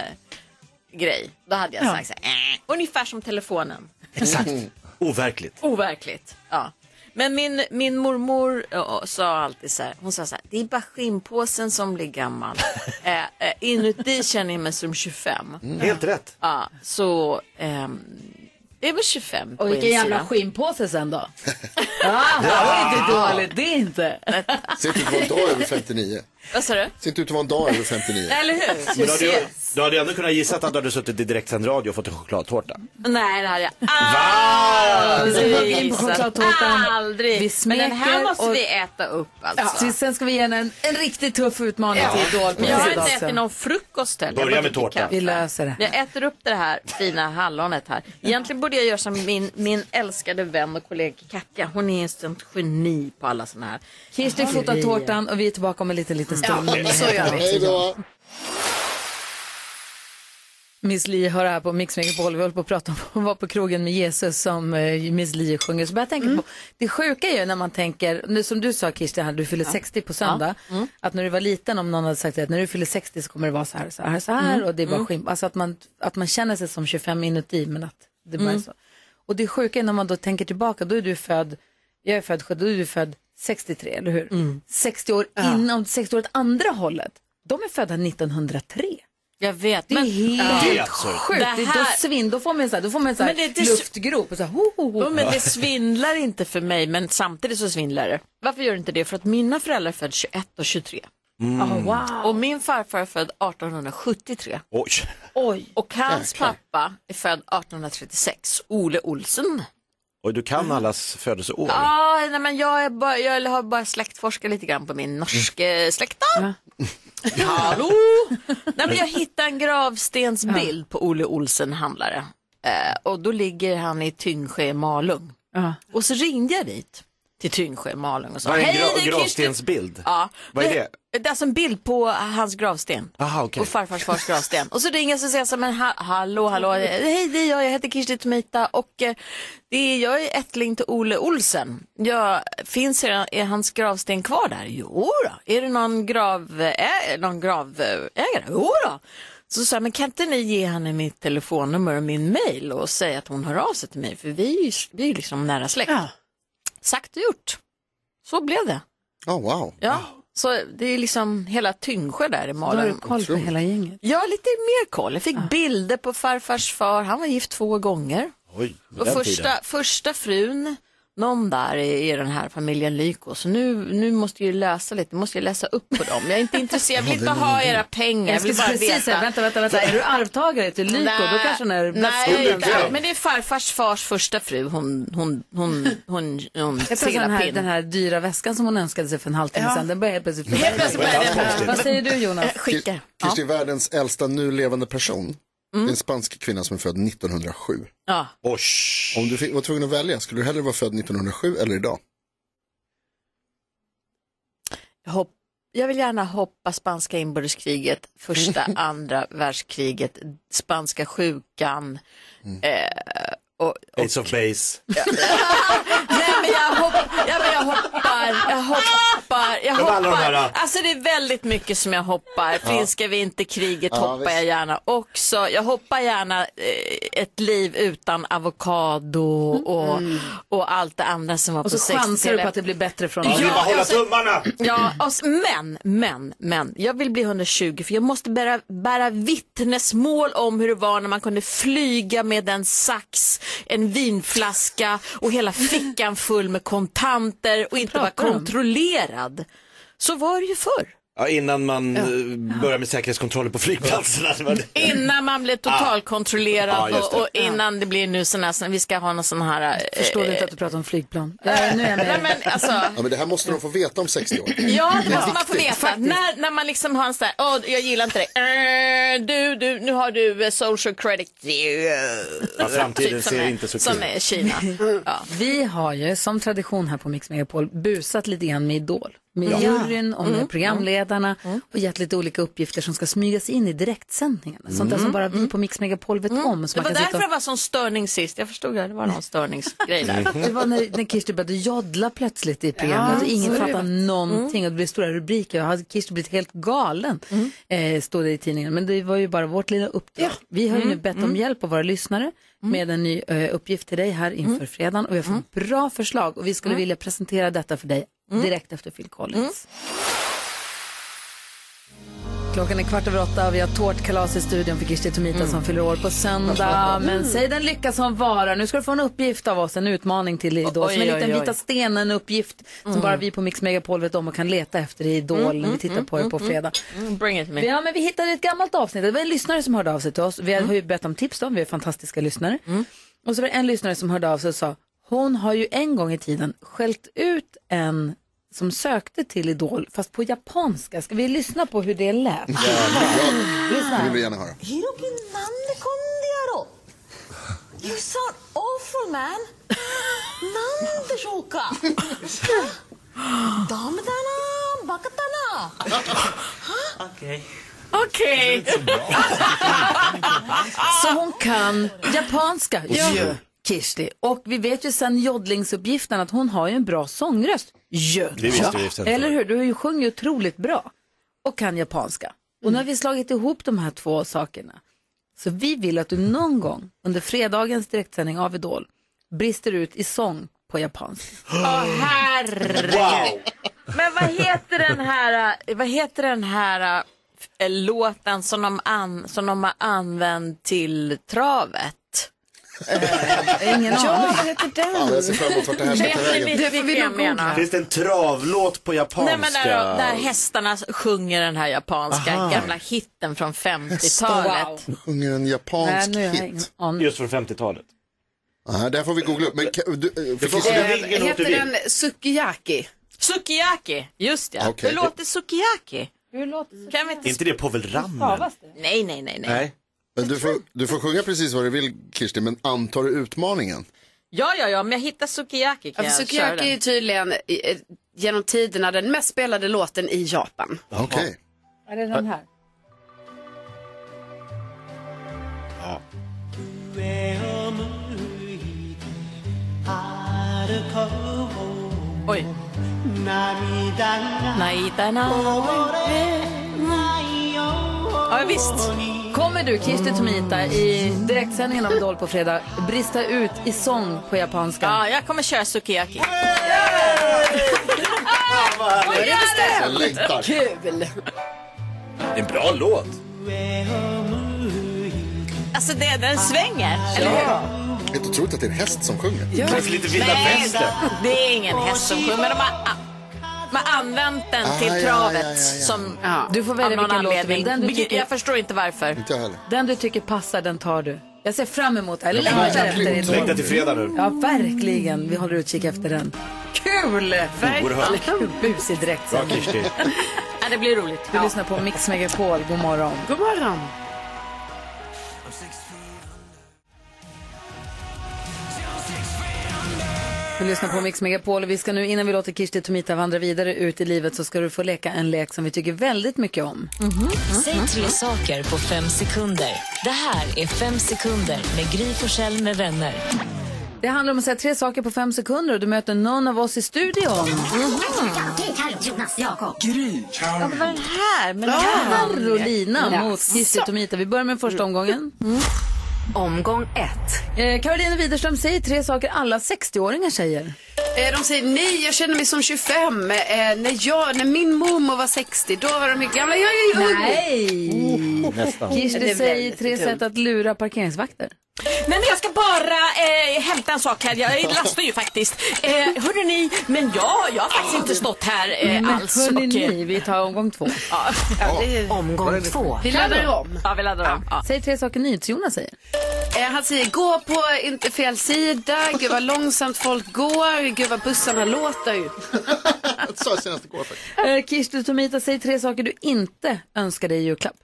[SPEAKER 1] grej. Då hade jag
[SPEAKER 5] Ja.
[SPEAKER 1] sagt så här, äh, ungefär som telefonen.
[SPEAKER 5] Exakt. Mm. Overkligt.
[SPEAKER 1] Overkligt. Ja. Men min, min mormor eh, sa alltid så här, hon sa så här, det är bara skinnpåsen som blir gammal. eh, eh, inuti känner jag mig som 25.
[SPEAKER 5] Helt rätt.
[SPEAKER 1] Mm. Ja, så ehm, det är väl 25 på
[SPEAKER 2] Och vilken
[SPEAKER 1] insidan.
[SPEAKER 2] jävla skinnpåse sen då? ah, det är inte dåligt, det är inte.
[SPEAKER 7] Ser inte ut att vara en dag över 59.
[SPEAKER 1] Vad sa du?
[SPEAKER 7] Ser inte ut att vara en dag över 59.
[SPEAKER 1] Eller hur?
[SPEAKER 5] Men då hade, jag, då hade jag ändå kunnat gissa att du hade suttit i direktsänd radio och fått en chokladtårta.
[SPEAKER 1] Nej, det hade jag
[SPEAKER 2] Vi ska hugga in
[SPEAKER 1] aldrig
[SPEAKER 2] på
[SPEAKER 1] gissat.
[SPEAKER 2] chokladtårtan.
[SPEAKER 1] Aldrig.
[SPEAKER 2] Vi
[SPEAKER 1] Men den här
[SPEAKER 2] smeker
[SPEAKER 1] måste
[SPEAKER 2] och-
[SPEAKER 1] vi äta upp
[SPEAKER 2] Ja.
[SPEAKER 1] alltså.
[SPEAKER 2] Så sen ska vi ge henne en, en riktigt tuff utmaning
[SPEAKER 1] Ja.
[SPEAKER 2] till Idol. på
[SPEAKER 1] Men jag har
[SPEAKER 2] fredag
[SPEAKER 1] inte ätit
[SPEAKER 2] sen.
[SPEAKER 1] någon frukost heller.
[SPEAKER 2] Börja
[SPEAKER 1] Jag har
[SPEAKER 2] med
[SPEAKER 1] druckit
[SPEAKER 2] tårta.
[SPEAKER 1] kaffe.
[SPEAKER 2] Vi löser det.
[SPEAKER 1] Jag äter upp det här fina hallonet här. Egentligen borde jag göra som min, min älskade vän och kollega Katja. Hon är en sånt geni på alla såna här.
[SPEAKER 2] Kirsti fotar tårtan och vi är tillbaka om en liten, liten stund.
[SPEAKER 1] Ja, så gör vi. Hej då.
[SPEAKER 2] Miss Li hör här på Mix Megapol. Vi håller på att prata om att vara på krogen med Jesus som eh, Miss Li sjunger. Så börjar jag tänka
[SPEAKER 1] Mm.
[SPEAKER 2] på, det sjuka är ju när man tänker, nu som du sa Kirsten, här, du fyller 60 på söndag.
[SPEAKER 1] Mm.
[SPEAKER 2] Att när du var liten, om någon hade sagt att när du fyller 60 så kommer det vara så här, så här, så här.
[SPEAKER 1] Mm.
[SPEAKER 2] Och det är bara
[SPEAKER 1] Mm.
[SPEAKER 2] skimp. Alltså att man, att man känner sig som 25 inuti, men att det bara är
[SPEAKER 1] Mm.
[SPEAKER 2] så. Och det sjuka är när man då tänker tillbaka, då är du född, jag är född 70, då är du född 63, eller
[SPEAKER 1] Mm.
[SPEAKER 2] hur? 60 år innan, 60 år åt andra hållet, de är födda 1903.
[SPEAKER 1] Jag vet.
[SPEAKER 2] Det är helt
[SPEAKER 1] Ja.
[SPEAKER 2] sjukt.
[SPEAKER 1] Det
[SPEAKER 2] Det
[SPEAKER 1] här-
[SPEAKER 2] då, svin, då får man ju så här, då får man en så här
[SPEAKER 1] Men det- det-
[SPEAKER 2] luftgrop. Och så här, ho, ho, ho.
[SPEAKER 1] Jo, men det svindlar inte för mig, men samtidigt så svindlar det. Varför gör det inte det? För att mina föräldrar föddes 21 och 23.
[SPEAKER 5] Mm.
[SPEAKER 1] Ah, wow. Och min farfar är född 1873.
[SPEAKER 5] Oj.
[SPEAKER 1] Oj. Och hans
[SPEAKER 5] Jäklar.
[SPEAKER 1] pappa är född 1836, Ole Olsen.
[SPEAKER 5] Oj, du kan
[SPEAKER 1] Mm.
[SPEAKER 5] allas födelseår.
[SPEAKER 1] Ja, nej, men jag, är bara, jag har bara släktforskat lite grann på min
[SPEAKER 5] Mm.
[SPEAKER 1] norske släkta. Hallå! nej, men jag hittade en gravstensbild på Ole Olsen handlare. Eh, och då ligger han i Tyngsjö i Malung. Och så ringde jag dit till Tyngsjö i Malung och sa,
[SPEAKER 5] Vad är en
[SPEAKER 1] "Hej, det är Ah,
[SPEAKER 5] gra-
[SPEAKER 1] Kirsten."
[SPEAKER 5] gravstensbild?
[SPEAKER 1] Ja.
[SPEAKER 5] Vad är det?
[SPEAKER 1] Det är alltså en bild på hans gravsten.
[SPEAKER 5] Aha, okej.
[SPEAKER 1] Och farfars fars gravsten. Och så ringer jag och säger jag så här, men ha- hallå, hallå, hej det är jag, jag heter Kirsti Tomita och eh, det är, jag är ättling till Ole Olsen. Jag, finns er, är hans gravsten kvar där? Jo då. Är det någon, grav, ä, någon gravägare? Jo då. Så sa jag, men kan inte ni ge henne mitt telefonnummer och min mail och säga att hon hör av sig till mig för vi är ju vi är ju liksom nära släkt. Sagt och gjort. Så blev det.
[SPEAKER 7] Oh, wow.
[SPEAKER 1] Ja, så det är liksom hela Tyngsjö där i
[SPEAKER 2] Då
[SPEAKER 1] Malung.
[SPEAKER 2] har du koll på hela gänget.
[SPEAKER 1] Ja, lite mer koll. Jag fick bilder på farfars far. Han var gift två gånger.
[SPEAKER 5] Oj, vid
[SPEAKER 1] Och
[SPEAKER 5] den tiden.
[SPEAKER 1] första, första frun, någon där i, i den här familjen Lyko. Så nu, nu måste jag ju läsa lite, måste jag läsa upp på dem. Jag är inte intresserad, jag vill inte ha era pengar.
[SPEAKER 2] Jag
[SPEAKER 1] Jag vill
[SPEAKER 2] skulle
[SPEAKER 1] bara
[SPEAKER 2] precis säga, vänta,
[SPEAKER 1] veta.
[SPEAKER 2] vänta, vänta. Är du arvtagare till Lyko? Då kanske hon är
[SPEAKER 1] Nej,
[SPEAKER 2] blasfem.
[SPEAKER 1] inte. men det är farfars fars första fru, hon, hon, hon, hon, hon, hon
[SPEAKER 2] Jag tror att den här,
[SPEAKER 1] Sillapinn.
[SPEAKER 2] den här dyra väskan som hon önskade sig för en halvtimme sedan, den börjar helt plötsligt
[SPEAKER 1] Helt plötsligt börjar Eh, den-
[SPEAKER 2] Vad säger du Jonas?
[SPEAKER 7] Kir- Kirsti är världens äldsta nu levande person.
[SPEAKER 1] Mm.
[SPEAKER 7] Det är en spansk kvinna som är född 1907.
[SPEAKER 1] Ja.
[SPEAKER 7] Om du fick, var tvungen att välja, skulle du hellre vara född 1907 eller idag?
[SPEAKER 1] Jag hopp, jag vill gärna hoppa spanska inbördeskriget, första, andra världskriget, spanska sjukan. Eh, och,
[SPEAKER 5] Ace of Base.
[SPEAKER 1] nej men jag, hopp, ja, men jag hoppar, jag hoppar, jag
[SPEAKER 5] Det var alla de
[SPEAKER 1] hoppar.
[SPEAKER 5] här,
[SPEAKER 1] Alltså det är väldigt mycket som jag hoppar.
[SPEAKER 5] Ja.
[SPEAKER 1] Finska vinterkriget
[SPEAKER 5] Ja,
[SPEAKER 1] hoppar jag
[SPEAKER 5] visst.
[SPEAKER 1] gärna också. Jag hoppar gärna eh, ett liv utan avokado och, och allt det andra som var
[SPEAKER 2] Mm. Och
[SPEAKER 1] på
[SPEAKER 2] så chansar du
[SPEAKER 1] 60-talet.
[SPEAKER 2] på att det blir bättre från
[SPEAKER 1] Ja,
[SPEAKER 2] Ja,
[SPEAKER 1] och
[SPEAKER 2] alltså-
[SPEAKER 1] så- Ja, och s- Alltså, men, men, men. Jag vill bli 120 för jag måste bära, bära vittnesmål om hur det var när man kunde flyga med en sax, en vinflaska och hela fickan full med kontanter och inte vara
[SPEAKER 5] pratar du om?
[SPEAKER 1] kontrollerad. Så var det ju förr.
[SPEAKER 5] Ja, innan man eh, börjar med säkerhetskontroller på flygplatserna. Det var det.
[SPEAKER 1] Innan man
[SPEAKER 7] Ah.
[SPEAKER 1] blev totalkontrollerad
[SPEAKER 5] Ja, just
[SPEAKER 1] och,
[SPEAKER 5] det.
[SPEAKER 1] och innan det blir nu sån här, sån- vi ska ha någon sån här... eh,
[SPEAKER 2] Förstår du inte att du pratar om flygplan? Eh,
[SPEAKER 1] nu är jag med. Nej, men alltså,
[SPEAKER 7] Ja, men det här måste de få veta om 60 år.
[SPEAKER 1] Ja,
[SPEAKER 7] Det
[SPEAKER 1] det
[SPEAKER 7] är
[SPEAKER 1] måste man få
[SPEAKER 7] viktigt.
[SPEAKER 1] veta. När, när man liksom har en sån här, åh jag gillar inte dig. Eh, du, du, nu har du eh, social credit.
[SPEAKER 5] Ja, framtiden
[SPEAKER 1] Typ som
[SPEAKER 5] ser
[SPEAKER 1] är,
[SPEAKER 5] inte så
[SPEAKER 1] Som
[SPEAKER 5] kul.
[SPEAKER 1] är Kina. Ja.
[SPEAKER 2] Vi har ju som tradition här på Mix Megapol busat lite grann med Idol. Med
[SPEAKER 1] Ja.
[SPEAKER 2] juryn och med
[SPEAKER 1] Mm.
[SPEAKER 2] programledarna och gett lite olika uppgifter som ska smygas in i direktsändningarna. Sånt där som bara vi på Mix Megapol vet om. Så
[SPEAKER 1] Mm. Det
[SPEAKER 2] man
[SPEAKER 1] var
[SPEAKER 2] kan sitta
[SPEAKER 1] därför
[SPEAKER 2] och...
[SPEAKER 1] det var sån störning sist. Jag förstod det, det var någon störningsgrej där.
[SPEAKER 2] Det var när, när Kirsti började joddla plötsligt i programmet.
[SPEAKER 1] Ja,
[SPEAKER 2] och ingen
[SPEAKER 1] så är det. Mm.
[SPEAKER 2] fattade någonting och det blev stora rubriker. Jag hade Kirsti blivit helt galen, eh, stod det i tidningen. Men det var ju bara vårt lilla uppdrag. Vi har ju nu
[SPEAKER 1] Mm,
[SPEAKER 2] bett om
[SPEAKER 1] mm.
[SPEAKER 2] hjälp av våra lyssnare med en ny eh, uppgift till dig här inför fredagen. Och vi har fått bra förslag och vi skulle
[SPEAKER 1] Mm.
[SPEAKER 2] vilja presentera detta för dig direkt efter Phil Collins. Klockan är kvart över åtta och vi har tårtkalas i studion för Kirsti Tomita som fyller år på söndag.
[SPEAKER 1] Mm.
[SPEAKER 2] Men säg den lycka som varar. Nu ska du få en uppgift av oss, en utmaning till Idol.
[SPEAKER 1] Oj,
[SPEAKER 2] Som en
[SPEAKER 1] oj,
[SPEAKER 2] liten
[SPEAKER 1] oj.
[SPEAKER 2] vita stenen-uppgift som
[SPEAKER 1] Mm.
[SPEAKER 2] bara vi på Mix Megapol vet om och kan leta efter i Idol
[SPEAKER 1] Mm,
[SPEAKER 2] när vi
[SPEAKER 1] mm,
[SPEAKER 2] tittar
[SPEAKER 1] mm,
[SPEAKER 2] på det på
[SPEAKER 1] mm,
[SPEAKER 2] fredag.
[SPEAKER 1] Mm, bring it to me.
[SPEAKER 2] Ja, men vi hittade ett gammalt avsnitt. Det var en lyssnare som hörde av sig till oss. Vi
[SPEAKER 1] Mm.
[SPEAKER 2] har ju bett om tips då, vi är fantastiska lyssnare. Och så var det en lyssnare som hörde av sig och sa, hon har ju en gång i tiden skällt ut en som sökte till Idol, fast på japanska. Ska vi lyssna på hur det lät?
[SPEAKER 7] Ja,
[SPEAKER 2] Det är så
[SPEAKER 7] ja. Det
[SPEAKER 2] här.
[SPEAKER 7] vill vi gärna höra.
[SPEAKER 11] ヒロキなんでこんでやろう You sound awful man なんでしょう かダメだなバカだな
[SPEAKER 12] Okej.
[SPEAKER 1] Okej.
[SPEAKER 2] Så hon kan japanska.
[SPEAKER 12] Ja.
[SPEAKER 2] Ja. Kirsti. Och vi vet ju sen joddlingsuppgiften att hon har ju en bra sångröst. Ja.
[SPEAKER 12] Det visste vi sedan
[SPEAKER 2] Eller hur? Du har ju sjungit otroligt bra och kan japanska. Och nu har vi slagit ihop de här två sakerna. Så vi vill att du någon gång under fredagens direktsändning av Idol brister ut i sång på japanska.
[SPEAKER 1] Åh herregud.
[SPEAKER 2] Wow.
[SPEAKER 1] Men vad heter den här, eh, vad heter den här eh, eh, låten som de, an, som de har använt till travet. eh,
[SPEAKER 2] Ingen
[SPEAKER 1] aning.
[SPEAKER 2] vad heter
[SPEAKER 7] Ja, jag ser fram emot vart det här ska ta vägen.
[SPEAKER 1] Det får vi nog googla.
[SPEAKER 5] Finns det en travlåt på
[SPEAKER 1] Nej,
[SPEAKER 5] japanska?
[SPEAKER 1] men där, där hästarna sjunger den här japanska
[SPEAKER 7] Aha.
[SPEAKER 1] gamla hitten från 50-talet.
[SPEAKER 7] Sjunger en japansk hit.
[SPEAKER 5] Just från 50-talet.
[SPEAKER 7] Nej, det här får vi googla upp. Men ka- du, eh, fick
[SPEAKER 5] får-
[SPEAKER 7] du-
[SPEAKER 5] ringer nog
[SPEAKER 6] Heter
[SPEAKER 5] till
[SPEAKER 6] den Sukiyaki?
[SPEAKER 1] Sukiyaki, just ja.
[SPEAKER 7] Okej.
[SPEAKER 1] Hur låter Sukiyaki? Hur låter Kan vi
[SPEAKER 5] Är inte det Povel Ramel?
[SPEAKER 1] Nej, nej, nej, nej.
[SPEAKER 7] Nej. Men du, får, du får sjunga precis vad du vill Kirsti, men antar du utmaningen?
[SPEAKER 1] Ja, ja, ja, om jag hittar Sukiyaki kan
[SPEAKER 6] Ja, för
[SPEAKER 1] jag köra
[SPEAKER 6] Alltså, Sukiyaki är
[SPEAKER 1] den.
[SPEAKER 6] tydligen i- eh, genom tiderna den mest spelade låten i Japan.
[SPEAKER 7] Okej.
[SPEAKER 2] Är det den här?
[SPEAKER 7] Ja.
[SPEAKER 1] Oj. Naidana.
[SPEAKER 2] Ja, visst. Kommer du, Kirsti Tomita, i direktsändningen av Idol på fredag, brista ut i sång på japanska?
[SPEAKER 1] Ja, jag kommer köra Sukiyaki.
[SPEAKER 7] Jag längtar.
[SPEAKER 6] Kul!
[SPEAKER 5] Det är en bra låt.
[SPEAKER 1] Alltså, det, den svänger, eller hur?
[SPEAKER 7] Helt otroligt att det är en häst som sjunger.
[SPEAKER 1] Ja.
[SPEAKER 5] Kanske lite vilda
[SPEAKER 1] Nej,
[SPEAKER 5] västern.
[SPEAKER 1] Det är ingen häst som sjunger, men de har, man har använt den
[SPEAKER 7] Ah,
[SPEAKER 1] till
[SPEAKER 7] ja,
[SPEAKER 1] travet.
[SPEAKER 7] ja, ja, ja.
[SPEAKER 1] Som,
[SPEAKER 2] Du får välja
[SPEAKER 1] av någon
[SPEAKER 2] vilken låt du vill.
[SPEAKER 1] anledning.
[SPEAKER 2] Den du tycker-
[SPEAKER 1] Jag förstår inte varför.
[SPEAKER 7] Inte jag heller.
[SPEAKER 2] Den du tycker passar, den tar du. Jag ser fram emot det här. Jag
[SPEAKER 7] Ja,
[SPEAKER 2] längtar
[SPEAKER 7] verkligen.
[SPEAKER 2] efter Idol.
[SPEAKER 5] Längtar till fredag nu.
[SPEAKER 2] Ja, verkligen. Vi håller utkik efter den. Kul!
[SPEAKER 5] Oerhört.
[SPEAKER 2] Verkligen. Busig
[SPEAKER 5] Bra
[SPEAKER 2] direktsändning.
[SPEAKER 5] Kirsti.
[SPEAKER 1] Ja, det blir roligt.
[SPEAKER 2] Du lyssnar på Mix Megapol. God morgon.
[SPEAKER 6] God morgon!
[SPEAKER 2] Du lyssnar på Mix Megapol och vi ska nu innan vi låter Kirsti Tomita vandra vidare ut i livet så ska du få leka en lek som vi tycker väldigt mycket om.
[SPEAKER 13] Säg
[SPEAKER 1] Mm.
[SPEAKER 13] tre saker på fem sekunder. Det här är Fem sekunder med Gry Forssell med vänner.
[SPEAKER 2] Det handlar om att säga tre saker på fem sekunder och du möter någon av oss i studion.
[SPEAKER 6] Mm-hmm.
[SPEAKER 13] Jonas, Jakob.
[SPEAKER 14] Gry,
[SPEAKER 2] Ja, det var den här med Carolina mot Kirsti Tomita. Vi börjar med första
[SPEAKER 6] Mm.
[SPEAKER 2] omgången. Omgång ett. Eh, Carolina Widerström säger tre saker alla 60-åringar säger.
[SPEAKER 6] Eh, De säger nej, jag känner mig som 25. Eh, när, jag, när min mormor var 60, då var de mycket gamla. Jag är ju ung.
[SPEAKER 2] Nej!
[SPEAKER 6] Nästan. Det
[SPEAKER 2] Kirsti
[SPEAKER 6] är
[SPEAKER 2] säger
[SPEAKER 6] väldigt
[SPEAKER 2] tre
[SPEAKER 6] dumt.
[SPEAKER 2] sätt att lura parkeringsvakter.
[SPEAKER 1] Nej, men jag ska bara eh, hämta en sak här. Jag lastar ju faktiskt. Eh, hörde ni, men jag, jag har faktiskt inte stått här
[SPEAKER 2] Men
[SPEAKER 1] eh, alls.
[SPEAKER 2] hörni
[SPEAKER 1] och, eh,
[SPEAKER 2] ni, vi tar omgång två.
[SPEAKER 13] Omgång två.
[SPEAKER 6] Vi laddar om.
[SPEAKER 1] Ja, vi laddar om. Ja.
[SPEAKER 2] Säg tre saker NyhetsJonas säger.
[SPEAKER 6] Eh, han säger gå på inte fel sida, gud vad långsamt folk går, gud vad bussarna låter ju.
[SPEAKER 7] Det sa jag senast igår faktiskt.
[SPEAKER 2] Eh, Kirsti Tomita, säg tre saker du inte önskar dig i julklapp.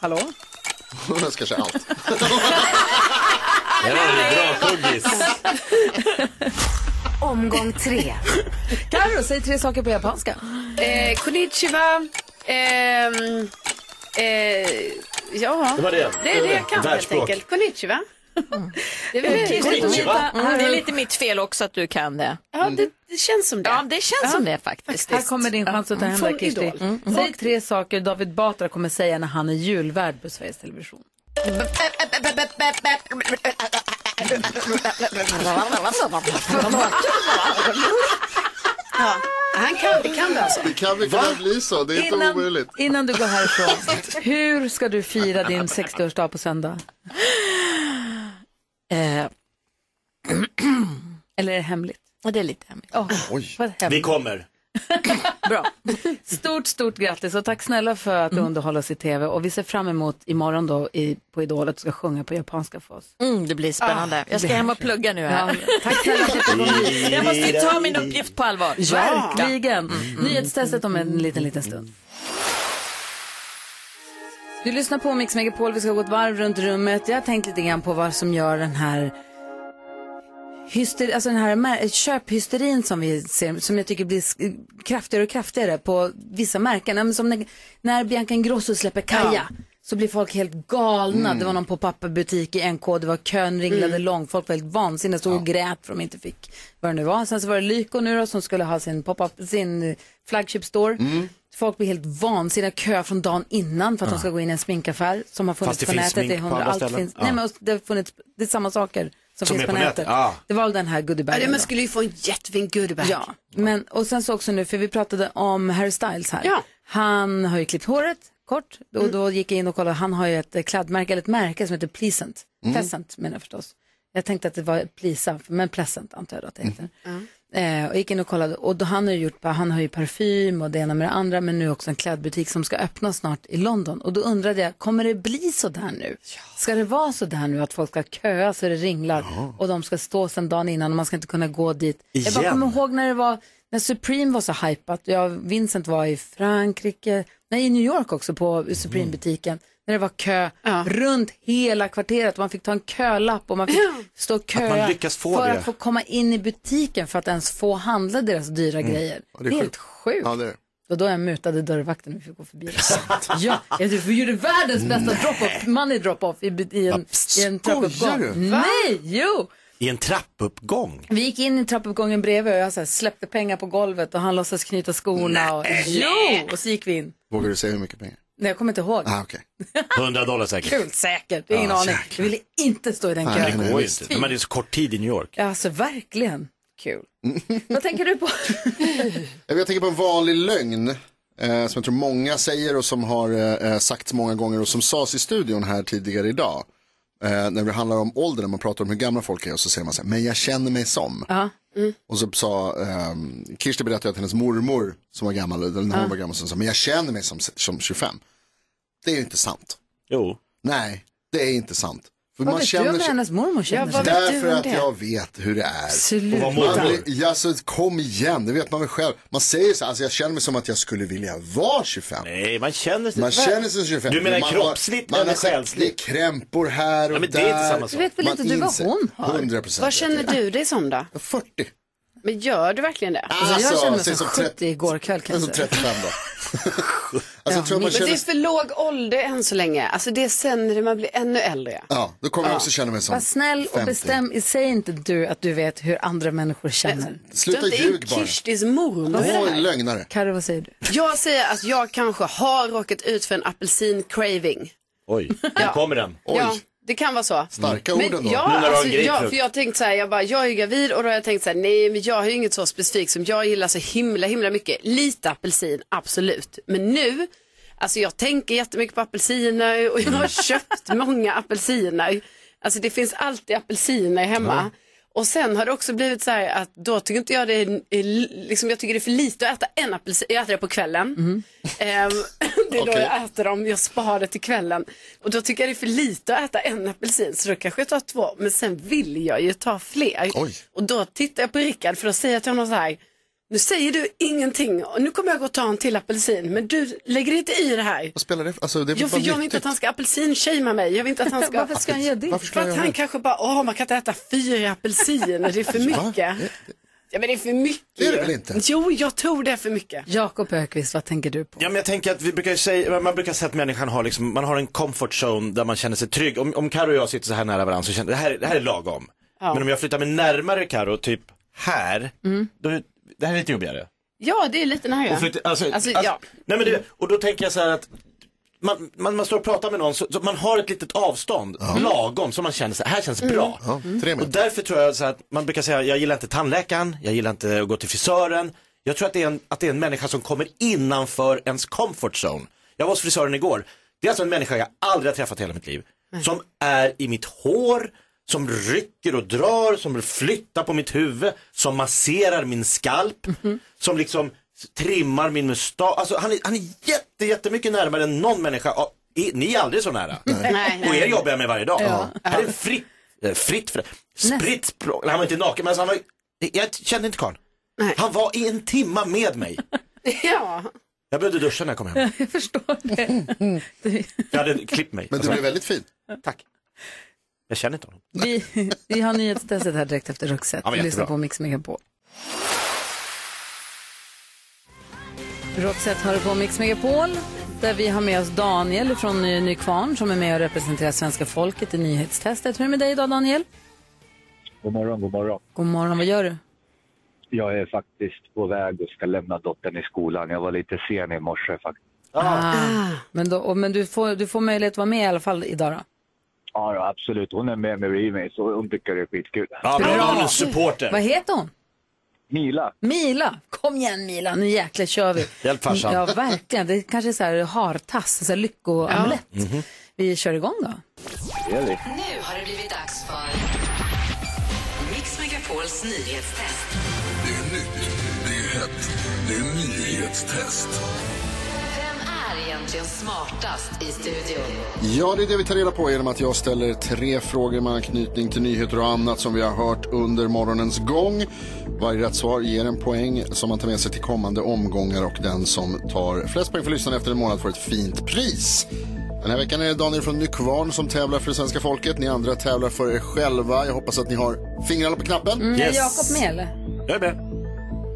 [SPEAKER 2] Hallå?
[SPEAKER 7] Hon önskar sig allt.
[SPEAKER 1] Alltså,
[SPEAKER 5] Det här är bra tuggis.
[SPEAKER 13] Omgång tre.
[SPEAKER 2] Carro, säg tre saker på japanska.
[SPEAKER 6] Eh, konnichiwa. Ehm, eh, ja,
[SPEAKER 5] Det var det.
[SPEAKER 6] det är det jag kan helt
[SPEAKER 5] Världsspråk.
[SPEAKER 6] enkelt. Konnichiwa.
[SPEAKER 1] Mm.
[SPEAKER 6] Det, är
[SPEAKER 2] Eh,
[SPEAKER 6] väl det.
[SPEAKER 1] Kirsti Tomita,
[SPEAKER 2] Konnichiwa.
[SPEAKER 1] mm, det är lite mitt fel också att du kan det.
[SPEAKER 6] Ja, det, det känns som det.
[SPEAKER 1] Ja, det känns som det faktiskt.
[SPEAKER 2] Här kommer din chans att ta hem det,
[SPEAKER 6] Från
[SPEAKER 2] Kirsti.
[SPEAKER 6] Idol.
[SPEAKER 2] Mm. Säg tre saker David Batra kommer säga när han är julvärd på Sveriges Television.
[SPEAKER 6] Ja, han kan, det kan det alltså.
[SPEAKER 7] Det kan väl kunna bli så. Det är inte omöjligt.
[SPEAKER 2] innan du går härifrån, hur ska du fira din 60-årsdag på söndag?
[SPEAKER 1] Eh,
[SPEAKER 2] Eller är det hemligt?
[SPEAKER 1] och det är lite hemligt.
[SPEAKER 2] Åh, vad
[SPEAKER 5] Vi
[SPEAKER 2] hemligt.
[SPEAKER 5] kommer.
[SPEAKER 2] Bra. Stort, stort grattis och tack snälla för att du underhåller oss i tv. Och vi ser fram emot imorgon då i, på Idol att du ska sjunga på japanska för oss.
[SPEAKER 1] Mm, det blir spännande. Jag ska hem och plugga nu
[SPEAKER 2] Ja,
[SPEAKER 1] här.
[SPEAKER 2] tack snälla för att du kom hit.
[SPEAKER 1] Jag måste ju ta min uppgift på allvar.
[SPEAKER 2] Verkligen. Nyhetstestet om en liten, liten stund. Du lyssnar på Mix Megapol, vi ska gå ett varv runt rummet. Jag har tänkt lite grann på vad som gör den här Hyster, alltså den här mär- köphysterin som vi ser, som jag tycker blir sk- kraftigare och kraftigare på vissa märken. Ja, men Som när, när Bianca Ingrosso släpper Kaja så blir folk helt galna.
[SPEAKER 5] Mm.
[SPEAKER 2] Det var någon pop-up-butik i NK, det var kön ringlade lång, folk var helt vansinniga, stod och grät för de inte fick vad det nu var. Sen så var det Lyko nu då, som skulle ha sin pop-up, sin eh, flagship store.
[SPEAKER 5] Mm.
[SPEAKER 2] Folk blir helt vansinniga, kö från dagen innan för att de ska gå in i en sminkaffär som har funnits
[SPEAKER 5] Fast det
[SPEAKER 2] på
[SPEAKER 5] finns
[SPEAKER 2] nätet.
[SPEAKER 5] smink på
[SPEAKER 2] hundra-
[SPEAKER 5] andra ställen.
[SPEAKER 2] Nej,
[SPEAKER 5] Ja.
[SPEAKER 2] men och det har funnits, det är samma saker som,
[SPEAKER 5] Som
[SPEAKER 2] finns på
[SPEAKER 5] är på
[SPEAKER 2] nätet.
[SPEAKER 5] nätet, ja.
[SPEAKER 2] Det var väl den här goodiebagen.
[SPEAKER 1] Ja, det- man
[SPEAKER 2] då.
[SPEAKER 1] skulle ju få en jättefin goodiebag.
[SPEAKER 2] Ja, men och sen så också nu, för vi pratade om Harry Styles här. Han har ju klippt håret kort och
[SPEAKER 1] Mm.
[SPEAKER 2] då gick jag in och kollade, han har ju ett eh, kladdmärke, eller ett märke som heter Pleasant.
[SPEAKER 1] Mm.
[SPEAKER 2] Pleasant menar jag förstås. Jag tänkte att det var Plisa, men Pleasant antar jag då att det
[SPEAKER 1] Mm.
[SPEAKER 2] heter. Eh, och gick in och kollade och då, han, har ju gjort, han har ju parfym och det ena med det andra men nu också en klädbutik som ska öppna snart i London. Och då undrade jag, kommer det bli så där nu? Ska det vara så där nu att folk ska köa så det ringlar och de ska stå sen dagen innan och man ska inte kunna gå dit? Jag bara
[SPEAKER 1] Igen.
[SPEAKER 2] kommer ihåg när det var, när Supreme var så hypat. Jag, Vincent var i Frankrike, nej i New York också på Supreme-butiken. När det var kö runt hela kvarteret och man fick ta en kölapp och man fick stå och
[SPEAKER 5] Att man
[SPEAKER 2] köa
[SPEAKER 5] lyckas få
[SPEAKER 2] för
[SPEAKER 5] det.
[SPEAKER 2] att få komma in i butiken för att ens få handla deras dyra
[SPEAKER 5] Mm.
[SPEAKER 2] grejer.
[SPEAKER 5] Ja,
[SPEAKER 2] det är helt sjukt.
[SPEAKER 7] Ja, det är
[SPEAKER 2] Och då jag mutade dörrvakten och vi fick gå förbi. ja, jag typ gjorde världens bästa drop-off, money drop-off i, i en, i en
[SPEAKER 5] skojar du?
[SPEAKER 2] trappuppgång.
[SPEAKER 5] Va?
[SPEAKER 2] Nej, jo!
[SPEAKER 5] I en trappuppgång?
[SPEAKER 2] Vi gick in i trappuppgången bredvid och jag så här släppte pengar på golvet och han låtsas knyta skorna. Och, jo! Och så gick vi in.
[SPEAKER 7] Vågar du säga hur mycket pengar?
[SPEAKER 2] Nej, jag kommer inte ihåg.
[SPEAKER 7] Ah, okej.
[SPEAKER 5] 100 dollar säkert.
[SPEAKER 2] Kul säkert, det är ingen
[SPEAKER 5] Ja,
[SPEAKER 2] aning. Jag ville inte stå i den
[SPEAKER 5] Nej,
[SPEAKER 2] kön.
[SPEAKER 5] det går ju inte. Nej, Men det är så kort tid i New York.
[SPEAKER 2] Alltså verkligen kul. Vad tänker du på?
[SPEAKER 7] Eh, Jag tänker på en vanlig lögn eh, som jag tror många säger och som har eh, sagts många gånger och som sades i studion här tidigare idag. Eh, när det handlar om ålder, när man pratar om hur gamla folk är och så säger man så här, men jag känner mig som.
[SPEAKER 2] Ja. mm.
[SPEAKER 7] Och så sa, eh, Kirsti berättade att hennes mormor som var gammal, eller när hon
[SPEAKER 2] Ja.
[SPEAKER 7] var gammal, så sa, men jag känner mig som, som 25. Det är ju inte sant.
[SPEAKER 5] Jo.
[SPEAKER 7] Nej, det är inte sant. För
[SPEAKER 2] Vad vet du om
[SPEAKER 7] sig-
[SPEAKER 2] hennes mormor känner sig?
[SPEAKER 7] Därför att jag vet hur det är.
[SPEAKER 2] Absolut. Och vad mår
[SPEAKER 7] Man
[SPEAKER 2] du?
[SPEAKER 7] blir- Alltså, ja, så kom igen, det vet man väl själv. Man säger så här, alltså jag känner mig som att jag skulle vilja vara 25.
[SPEAKER 5] Nej, man känner sig...
[SPEAKER 7] Man känner sig som 25.
[SPEAKER 5] Du menar
[SPEAKER 7] man
[SPEAKER 5] kroppsligt
[SPEAKER 7] har, man
[SPEAKER 5] eller
[SPEAKER 7] har sett-
[SPEAKER 5] själsligt?
[SPEAKER 7] Det är krämpor här och
[SPEAKER 5] Ja, men det
[SPEAKER 7] där.
[SPEAKER 5] är inte samma sak. Du vet väl
[SPEAKER 7] Man
[SPEAKER 5] inte du vad
[SPEAKER 7] inser-
[SPEAKER 5] hon har?
[SPEAKER 7] 100 procent.
[SPEAKER 6] Vad känner du dig som då?
[SPEAKER 7] 40.
[SPEAKER 6] Men gör du verkligen det?
[SPEAKER 7] Alltså,
[SPEAKER 2] jag kände mig
[SPEAKER 7] säg
[SPEAKER 2] som
[SPEAKER 7] som
[SPEAKER 2] 70 igår kväll
[SPEAKER 7] Alltså
[SPEAKER 2] kanske.
[SPEAKER 7] 35 då. alltså, jag tror man
[SPEAKER 6] men det
[SPEAKER 7] känner,
[SPEAKER 6] är för låg ålder än så länge. Alltså det är sen när man blir ännu äldre.
[SPEAKER 7] ja, då kommer jag också känna mig som
[SPEAKER 2] Var snäll och
[SPEAKER 7] 50.
[SPEAKER 2] bestäm, säg inte du att du vet hur andra människor känner.
[SPEAKER 7] Sluta
[SPEAKER 6] Det är
[SPEAKER 7] ljug bara.
[SPEAKER 6] Kirstis mormor.
[SPEAKER 7] Var en lögnare.
[SPEAKER 2] Carro, vad säger du?
[SPEAKER 6] Jag säger att jag kanske har råkat ut för en apelsin-craving.
[SPEAKER 5] Oj, nu kommer den.
[SPEAKER 6] Ja, det kan vara så.
[SPEAKER 7] Starka
[SPEAKER 6] men,
[SPEAKER 7] ord ändå.
[SPEAKER 6] Ja,
[SPEAKER 5] Nu när du har en
[SPEAKER 6] alltså, ja,
[SPEAKER 5] grapefrukt.
[SPEAKER 6] för jag tänkte så här, jag, bara, jag är ju gravid och då har jag tänkt så här, nej men jag har ju inget så specifikt som jag gillar så himla himla mycket. Lite apelsin, absolut. Men nu, alltså jag tänker jättemycket på apelsiner och jag har köpt många apelsiner. Alltså det finns alltid apelsiner hemma. Och sen har det också blivit så här att då tycker inte jag det är, är liksom jag tycker det är för lite att äta en apelsin, jag äter det på kvällen.
[SPEAKER 7] Mm.
[SPEAKER 6] Ehm, det är då
[SPEAKER 9] Okej.
[SPEAKER 6] jag äter dem, jag sparar det till kvällen. Och då tycker jag det är för lite att äta en apelsin så då kanske jag tar två. Men sen vill jag ju ta fler. Och då tittar jag på Rickard för då säger jag till honom så här. Nu säger du ingenting och nu kommer jag gå och ta en till apelsin men du lägger inte i det här.
[SPEAKER 7] Vad spelar det för, alltså det är
[SPEAKER 6] Ja,
[SPEAKER 7] väl
[SPEAKER 6] för
[SPEAKER 7] bara
[SPEAKER 6] jag vill inte att
[SPEAKER 7] nyttigt.
[SPEAKER 6] han ska apelsinshamea mig. Jag vill inte att han ska...
[SPEAKER 7] Varför ska han göra det? Varför ska
[SPEAKER 6] För
[SPEAKER 7] han
[SPEAKER 6] att
[SPEAKER 7] göra
[SPEAKER 6] han
[SPEAKER 7] det?
[SPEAKER 6] kanske bara, åh man kan inte äta fyra apelsiner, det är för
[SPEAKER 7] Va?
[SPEAKER 6] mycket. Ja men det är för mycket
[SPEAKER 7] Det är det
[SPEAKER 6] ju.
[SPEAKER 7] väl inte?
[SPEAKER 6] Jo, jag tror det är för mycket.
[SPEAKER 2] Jakob Ökvist, vad tänker du på?
[SPEAKER 5] Ja, men jag tänker att vi brukar ju säga, man brukar säga att människan har liksom, man har en comfort zone där man känner sig trygg. Om, om Karo och jag sitter så här nära varandra så känner det här, det här är lagom.
[SPEAKER 6] Ja. Mm.
[SPEAKER 5] Men om jag flyttar mig närmare Karo typ här, då, det här är lite jobbigare.
[SPEAKER 6] Ja, det är lite nära.
[SPEAKER 5] Och, flytta, alltså,
[SPEAKER 6] Alltså,
[SPEAKER 5] alltså,
[SPEAKER 6] ja.
[SPEAKER 5] nej men det, och då tänker jag så här att man, man, man står och pratar med någon, så, så man har ett litet avstånd, lagom, som man känner så här, här känns
[SPEAKER 7] Mm.
[SPEAKER 5] bra.
[SPEAKER 7] Ja, tre
[SPEAKER 5] Och därför tror jag så här att man brukar säga, jag gillar inte tandläkaren, jag gillar inte att gå till frisören. Jag tror att det är en, att det är en människa som kommer innanför ens comfort zone. Jag var hos frisören igår, det är alltså en människa jag aldrig har träffat i hela mitt liv. Som är i mitt hår, som rycker och drar, som flyttar på mitt huvud, som masserar min skalp, som liksom trimmar min mustasch. Alltså han är, han är jätte, jättemycket närmare än någon människa. Ja, i- Ni är aldrig så nära.
[SPEAKER 6] Nej,
[SPEAKER 5] Och er
[SPEAKER 6] nej.
[SPEAKER 5] jobbar jag med varje dag.
[SPEAKER 6] Ja.
[SPEAKER 5] Här är en fritt, eh, fritt, för, spritt språk. Nej, han var inte naken men alltså, han var, jag kände inte karln. Han var i en timma med mig.
[SPEAKER 6] Ja.
[SPEAKER 5] Jag behövde duscha när jag kom hem.
[SPEAKER 2] Jag förstår det.
[SPEAKER 5] Jag hade klippt mig.
[SPEAKER 7] Men du blev väldigt fin.
[SPEAKER 5] Tack. Jag känner inte honom.
[SPEAKER 2] Vi, vi har nyhetstestet här direkt efter Roxette.
[SPEAKER 5] Ja, men
[SPEAKER 2] Lyssna
[SPEAKER 5] jättebra.
[SPEAKER 2] på Mix Megapol. Roxette har du på Mix Megapol där vi har med oss Daniel från eh, Nykvarn som är med och representerar svenska folket i nyhetstestet. Hur är det med dig idag Daniel?
[SPEAKER 15] God morgon, god morgon.
[SPEAKER 2] God morgon, vad gör du?
[SPEAKER 15] Jag är faktiskt på väg och ska lämna dottern i skolan. Jag var lite sen i morse faktiskt.
[SPEAKER 2] Ah. Men, då, och, men du, får, du får möjlighet att vara med i alla fall idag då?
[SPEAKER 15] Ja, ja, absolut. Hon är med mig i Remix och hon tycker det är skitkul.
[SPEAKER 5] Ja, bra
[SPEAKER 2] Vad
[SPEAKER 5] supporter.
[SPEAKER 2] heter hon?
[SPEAKER 15] Mila.
[SPEAKER 2] Mila. Kom igen Mila, nu jäklar kör vi.
[SPEAKER 5] Hjälp farsan.
[SPEAKER 2] Ja, verkligen. Det är kanske är så här hartass, så här lyckoamulett.
[SPEAKER 5] Mhm.
[SPEAKER 2] Vi kör igång då.
[SPEAKER 16] Nu har det blivit dags för Mix Megapols nyhetstest. Det är nytt, det är hett, det är nyhetstest.
[SPEAKER 13] Vem är egentligen smartast i studion?
[SPEAKER 7] Ja, det är det vi tar reda på genom att jag ställer tre frågor med anknytning till nyheter och annat som vi har hört under morgonens gång. Varje rätt svar ger en poäng som man tar med sig till kommande omgångar och den som tar flest poäng för lyssnaren efter en månad får ett fint pris. Den här veckan är det Daniel från Nykvarn som tävlar för det svenska folket. Ni andra tävlar för er själva. Jag hoppas att ni har fingrarna på knappen.
[SPEAKER 2] Mm, Är Jakob med eller?
[SPEAKER 5] Jag är med.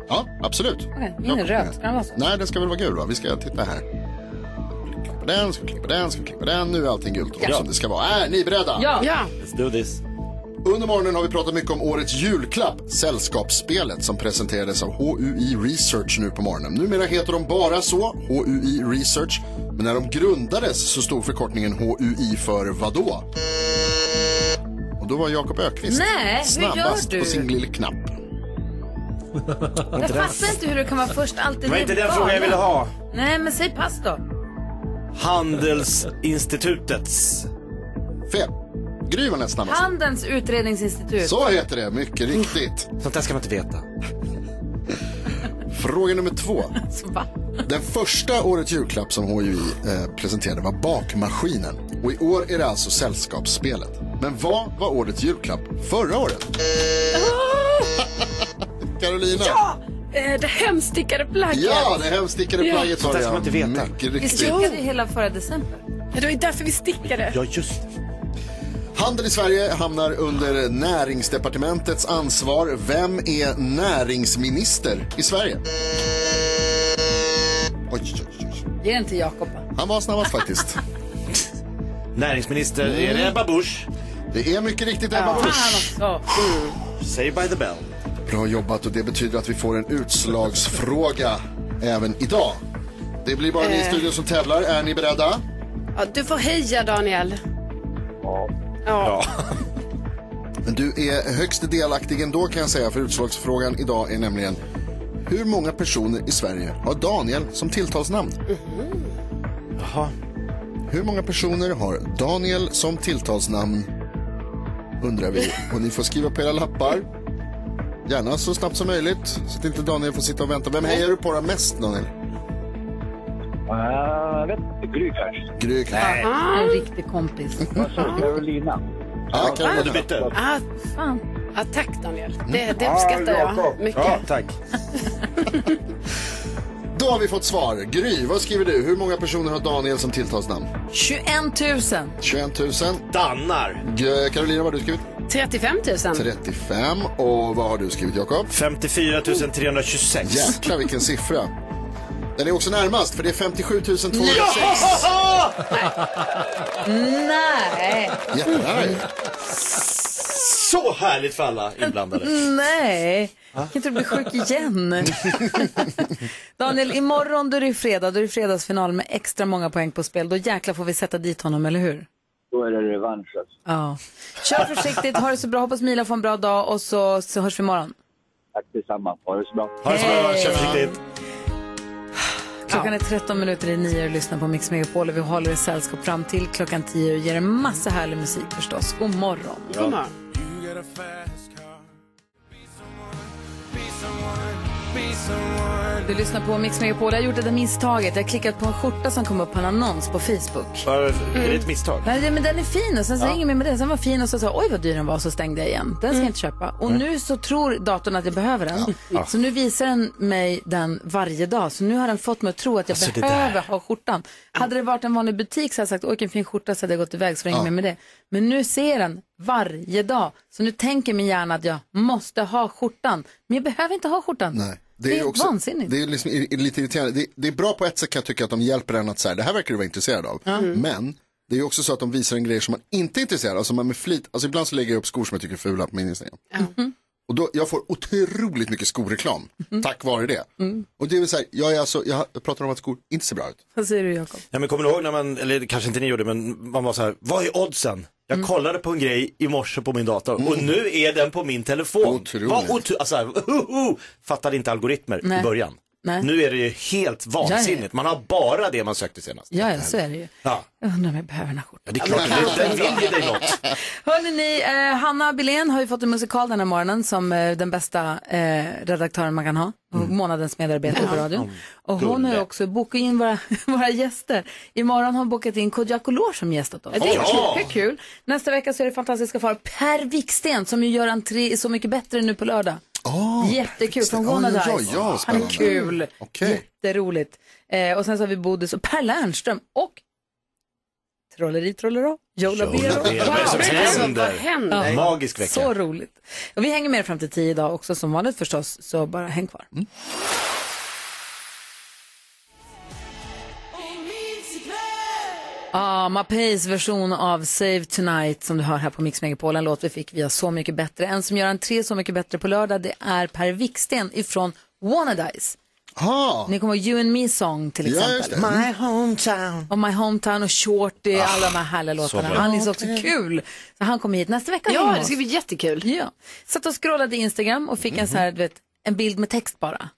[SPEAKER 7] Ja, absolut.
[SPEAKER 2] Okej, min är
[SPEAKER 7] Jakob är
[SPEAKER 2] röd. Ska den vara så?
[SPEAKER 7] Nej, den ska väl vara gul va? Vi ska titta här. Klippa den, ska klippa den, ska klippa den. Nu är allting gult och
[SPEAKER 5] Ja.
[SPEAKER 7] som det ska vara. Är ni beredda?
[SPEAKER 2] Ja.
[SPEAKER 5] Let's do this.
[SPEAKER 7] Under morgonen har vi pratat mycket om årets julklapp, Sällskapsspelet, som presenterades av HUI Research nu på morgonen. Numera heter de bara så, HUI Research, men när de grundades så stod förkortningen HUI för vadå? Och då var Jakob Ökvist
[SPEAKER 2] Nej, hur
[SPEAKER 7] snabbast
[SPEAKER 2] gör du?
[SPEAKER 7] på sin lilla knapp.
[SPEAKER 2] Jag fattar inte hur du kan vara först alltid.
[SPEAKER 5] Det var
[SPEAKER 2] är
[SPEAKER 5] inte den
[SPEAKER 2] bara-
[SPEAKER 5] frågan jag ville ha.
[SPEAKER 2] Nej, men säg pass då.
[SPEAKER 5] Handelsinstitutets.
[SPEAKER 7] Fel. Gry var näst snabbast.
[SPEAKER 2] Handens utredningsinstitut.
[SPEAKER 7] Så heter det, mycket riktigt.
[SPEAKER 5] Sånt där ska man inte veta.
[SPEAKER 7] Fråga nummer två.
[SPEAKER 2] Va?
[SPEAKER 7] Den första årets julklapp som HUI eh, presenterade var bakmaskinen. Och i år är det alltså sällskapsspelet. Men vad var årets julklapp förra året? Carolina?
[SPEAKER 17] Ja! Eh, Det hemstickade plagget.
[SPEAKER 7] Ja, det hemstickade
[SPEAKER 17] Ja.
[SPEAKER 7] plagget var
[SPEAKER 17] Sånt där
[SPEAKER 7] det.
[SPEAKER 17] ska man inte
[SPEAKER 7] veta. Mycket
[SPEAKER 17] Vi
[SPEAKER 7] riktigt.
[SPEAKER 17] stickade
[SPEAKER 2] ju hela förra december.
[SPEAKER 17] Ja, det var ju därför vi stickade.
[SPEAKER 5] Ja, just
[SPEAKER 7] Handel i Sverige hamnar under näringsdepartementets ansvar. Vem är näringsminister i Sverige? Oj, oj, oj.
[SPEAKER 2] Ge den till Jakob.
[SPEAKER 7] Han var snabbast faktiskt.
[SPEAKER 5] Näringsminister, är det Ebba Busch?
[SPEAKER 7] Det är mycket riktigt Ebba Busch.
[SPEAKER 5] Say by the bell.
[SPEAKER 7] Bra jobbat och det betyder att vi får en utslagsfråga även idag. Det blir bara ni i
[SPEAKER 17] Eh.
[SPEAKER 7] studion som tävlar. Är ni beredda?
[SPEAKER 17] Ja, du får heja Daniel.
[SPEAKER 7] Ja.
[SPEAKER 17] Ja.
[SPEAKER 7] Men du är högst delaktig ändå kan jag säga för utslagsfrågan idag är nämligen hur många personer i Sverige har Daniel som tilltalsnamn? Jaha. Hur många personer har Daniel som tilltalsnamn? Undrar vi. Och ni får skriva på era lappar. Gärna så snabbt som möjligt så att inte Daniel får sitta och vänta. Vem hejar du på då mest Daniel?
[SPEAKER 15] Jag Äh, vet inte, Gry kanske.
[SPEAKER 7] Gry
[SPEAKER 2] Nej. En riktig kompis.
[SPEAKER 15] Carolina.
[SPEAKER 7] Ja,
[SPEAKER 5] Carolina. Du bytte.
[SPEAKER 17] Ah,
[SPEAKER 2] fan.
[SPEAKER 17] Ah, tack Daniel. Det, det uppskattar jag mycket.
[SPEAKER 5] Ja, tack.
[SPEAKER 7] Då har vi fått svar. Gry, vad skriver du? Hur många personer har Daniel som tilltalsnamn?
[SPEAKER 2] 21 000.
[SPEAKER 7] 21 000.
[SPEAKER 5] Dannar.
[SPEAKER 7] G- Carolina, vad har du skrivit?
[SPEAKER 17] 35 000.
[SPEAKER 7] 35. Och vad har du skrivit, Jakob?
[SPEAKER 5] 54 326.
[SPEAKER 7] Jäklar vilken siffra. Den är också närmast, för det är 57 206.
[SPEAKER 5] Ja!
[SPEAKER 2] Nej.
[SPEAKER 7] Jättenajs.
[SPEAKER 5] Så härligt för alla inblandade.
[SPEAKER 2] Nej, kan inte du bli sjuk igen? Daniel, imorgon då är det ju fredag, då är det fredagsfinal med extra många poäng på spel. Då jäkla får vi sätta dit honom, eller hur?
[SPEAKER 15] Då är det revansch alltså.
[SPEAKER 2] Ja. Kör försiktigt, ha det så bra, hoppas Mila får en bra dag och så, så hörs vi imorgon.
[SPEAKER 15] Tack detsamma. Ha det så bra.
[SPEAKER 5] Ha det så bra,
[SPEAKER 2] Hej.
[SPEAKER 5] kör försiktigt.
[SPEAKER 2] Klockan är 13 minuter i nio och lyssnar på Mix Megapol och vi håller er sällskap fram till klockan 10 och ger en massa härlig musik förstås. God morgon.
[SPEAKER 17] God morgon.
[SPEAKER 2] Du lyssnar på Mix Megapol. Jag har gjort det där misstaget. Jag har klickat på en skjorta som kom upp på en annons på Facebook.
[SPEAKER 5] Var- Är det
[SPEAKER 2] Mm.
[SPEAKER 5] ett misstag?
[SPEAKER 2] Nej, men den är fin och sen så
[SPEAKER 5] Ja.
[SPEAKER 2] hänger jag med, med den. Sen var fin och så sa jag, oj vad dyr den var och så stängde jag igen. Den ska jag inte köpa. Och nu så tror datorn att jag behöver den.
[SPEAKER 5] Ja.
[SPEAKER 2] Så nu visar den mig den varje dag. Så nu har den fått mig att tro att jag
[SPEAKER 5] Alltså, det
[SPEAKER 2] behöver ha skjortan. Hade det varit en vanlig butik så hade jag sagt, oj vilken fin skjorta så hade jag gått iväg så var det inget
[SPEAKER 17] Ja.
[SPEAKER 2] mer med det. Men nu ser den varje dag. Så nu tänker min hjärna att jag måste ha skjortan. Men jag behöver inte ha skjortan.
[SPEAKER 7] Nej.
[SPEAKER 2] Det är
[SPEAKER 7] ju
[SPEAKER 2] vansinnigt.
[SPEAKER 7] Det är liksom i- i- lite irriterande. Det, det är bra på ett sätt kan jag tycka att de hjälper en att säga det här verkar du vara intresserad av. Men det är ju också så att de visar en grej som man inte är intresserad av. Alltså man med flit, alltså ibland så lägger jag upp skor som jag tycker är fula på min Instagram.
[SPEAKER 2] Mhm.
[SPEAKER 7] Och då, jag får otroligt mycket skoreklam tack vare det.
[SPEAKER 2] Mm.
[SPEAKER 7] Och det är väl så här, jag, är alltså, jag pratar om att skor inte ser bra ut.
[SPEAKER 2] Vad säger du Jakob?
[SPEAKER 5] Ja, men kommer du ihåg när man, eller det kanske inte ni gjorde, men man var så här, vad är oddsen? Jag
[SPEAKER 2] Mm.
[SPEAKER 5] kollade på en grej i morse på min dator och nu är den på min telefon. Otroligt. Vad otur, alltså, här, uhuhu, fattade inte algoritmer
[SPEAKER 2] Nej.
[SPEAKER 5] i början.
[SPEAKER 2] Nej.
[SPEAKER 5] Nu är det ju helt vansinnigt. Man har bara det man sökte senast.
[SPEAKER 2] Ja, ja, så är det ju.
[SPEAKER 5] Ja,
[SPEAKER 2] Jag undrar om jag behöver den här skjortan.
[SPEAKER 5] ja det är klart. Den vill ju dig något.
[SPEAKER 2] Hörrni, ni, eh, Hanna Billén har ju fått en musikal den här morgonen som eh, den bästa eh, redaktören man kan ha. och
[SPEAKER 17] Mm.
[SPEAKER 2] Månadens medarbetare på radion. Och hon har ju också bokat in våra, våra gäster. Imorgon har hon bokat in Kodjo Lår som gästat oss.
[SPEAKER 17] Ja, det är
[SPEAKER 2] Ja.
[SPEAKER 17] kul.
[SPEAKER 2] Det är kul. Nästa vecka så är det fantastiska far Per Wiksten som ju gör entré i Så mycket bättre nu på lördag. Ah, Jättekul från
[SPEAKER 17] Oj,
[SPEAKER 2] Wanna
[SPEAKER 17] oj, oj,
[SPEAKER 2] Dice.
[SPEAKER 17] ja,
[SPEAKER 2] Han är
[SPEAKER 17] spännande.
[SPEAKER 2] kul.
[SPEAKER 17] Okej.
[SPEAKER 2] Jätteroligt. Eh, och sen så har vi Bodis och Per Lernström och Trolleri trollera, Joe Labero.
[SPEAKER 5] Labero. Vad är det som
[SPEAKER 2] Alltså,
[SPEAKER 5] händer?
[SPEAKER 2] vad händer?
[SPEAKER 5] Ja. Magisk vecka.
[SPEAKER 2] Så roligt. Och vi hänger med er fram till tio idag också som vanligt förstås, så bara häng kvar.
[SPEAKER 16] Mm.
[SPEAKER 2] Ah, Mapeys version av Save Tonight som du hör här på Mix Megapol, en låt vi fick via Så mycket bättre. En som gör en tre Så mycket bättre på lördag, det är Per Wiksten ifrån Wannadies.
[SPEAKER 7] Ah,
[SPEAKER 2] Ni kommer ihåg You and Me Song till
[SPEAKER 16] Ja,
[SPEAKER 2] exempel.
[SPEAKER 16] just det. Mm.
[SPEAKER 2] Hometown. Och My Hometown och Shorty,
[SPEAKER 16] Ah,
[SPEAKER 2] alla de här härliga
[SPEAKER 16] så
[SPEAKER 2] låtarna.
[SPEAKER 16] bra.
[SPEAKER 2] Han är så också
[SPEAKER 16] Okej.
[SPEAKER 2] kul. Så han kommer hit nästa vecka.
[SPEAKER 17] Ja,
[SPEAKER 2] hänger
[SPEAKER 17] det
[SPEAKER 2] oss.
[SPEAKER 17] ska bli jättekul.
[SPEAKER 2] Ja. Satt och scrollade Instagram och fick en, så
[SPEAKER 7] Mhm.
[SPEAKER 2] här, du vet, en bild med text bara.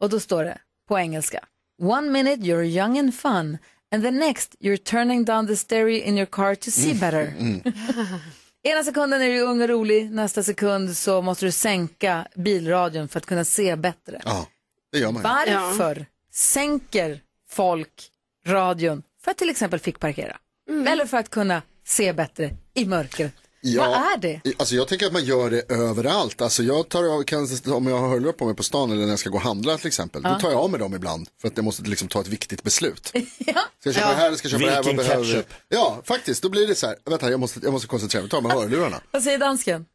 [SPEAKER 2] Och då står det på engelska. One minute you're young and fun and the next you're turning down the stereo in your car to
[SPEAKER 7] Mm.
[SPEAKER 2] see better. Ena sekunden är du ung och rolig, nästa sekund så måste du sänka bilradion för att kunna se bättre.
[SPEAKER 7] Ja, det gör man ju.
[SPEAKER 2] Varför sänker folk radion för att till exempel fick parkera? Eller för att kunna se bättre i mörkret?
[SPEAKER 7] Ja.
[SPEAKER 2] Vad är det?
[SPEAKER 7] Alltså jag tänker att man gör det överallt. Alltså jag tar av, kan, om jag har hörlurar på mig på stan eller när jag ska gå och handla till exempel.
[SPEAKER 2] Ja.
[SPEAKER 7] Då tar jag av mig dem ibland för att jag måste liksom ta ett viktigt beslut. Ska jag köpa
[SPEAKER 16] Ja.
[SPEAKER 7] det här eller ska jag köpa det här? Vad
[SPEAKER 16] Vilken
[SPEAKER 7] behöver vi?
[SPEAKER 16] ketchup?
[SPEAKER 7] Ja, faktiskt. Då blir det så här. Vänta, jag måste, jag måste koncentrera mig. Ta av mig hörlurarna.
[SPEAKER 2] Vad säger dansken?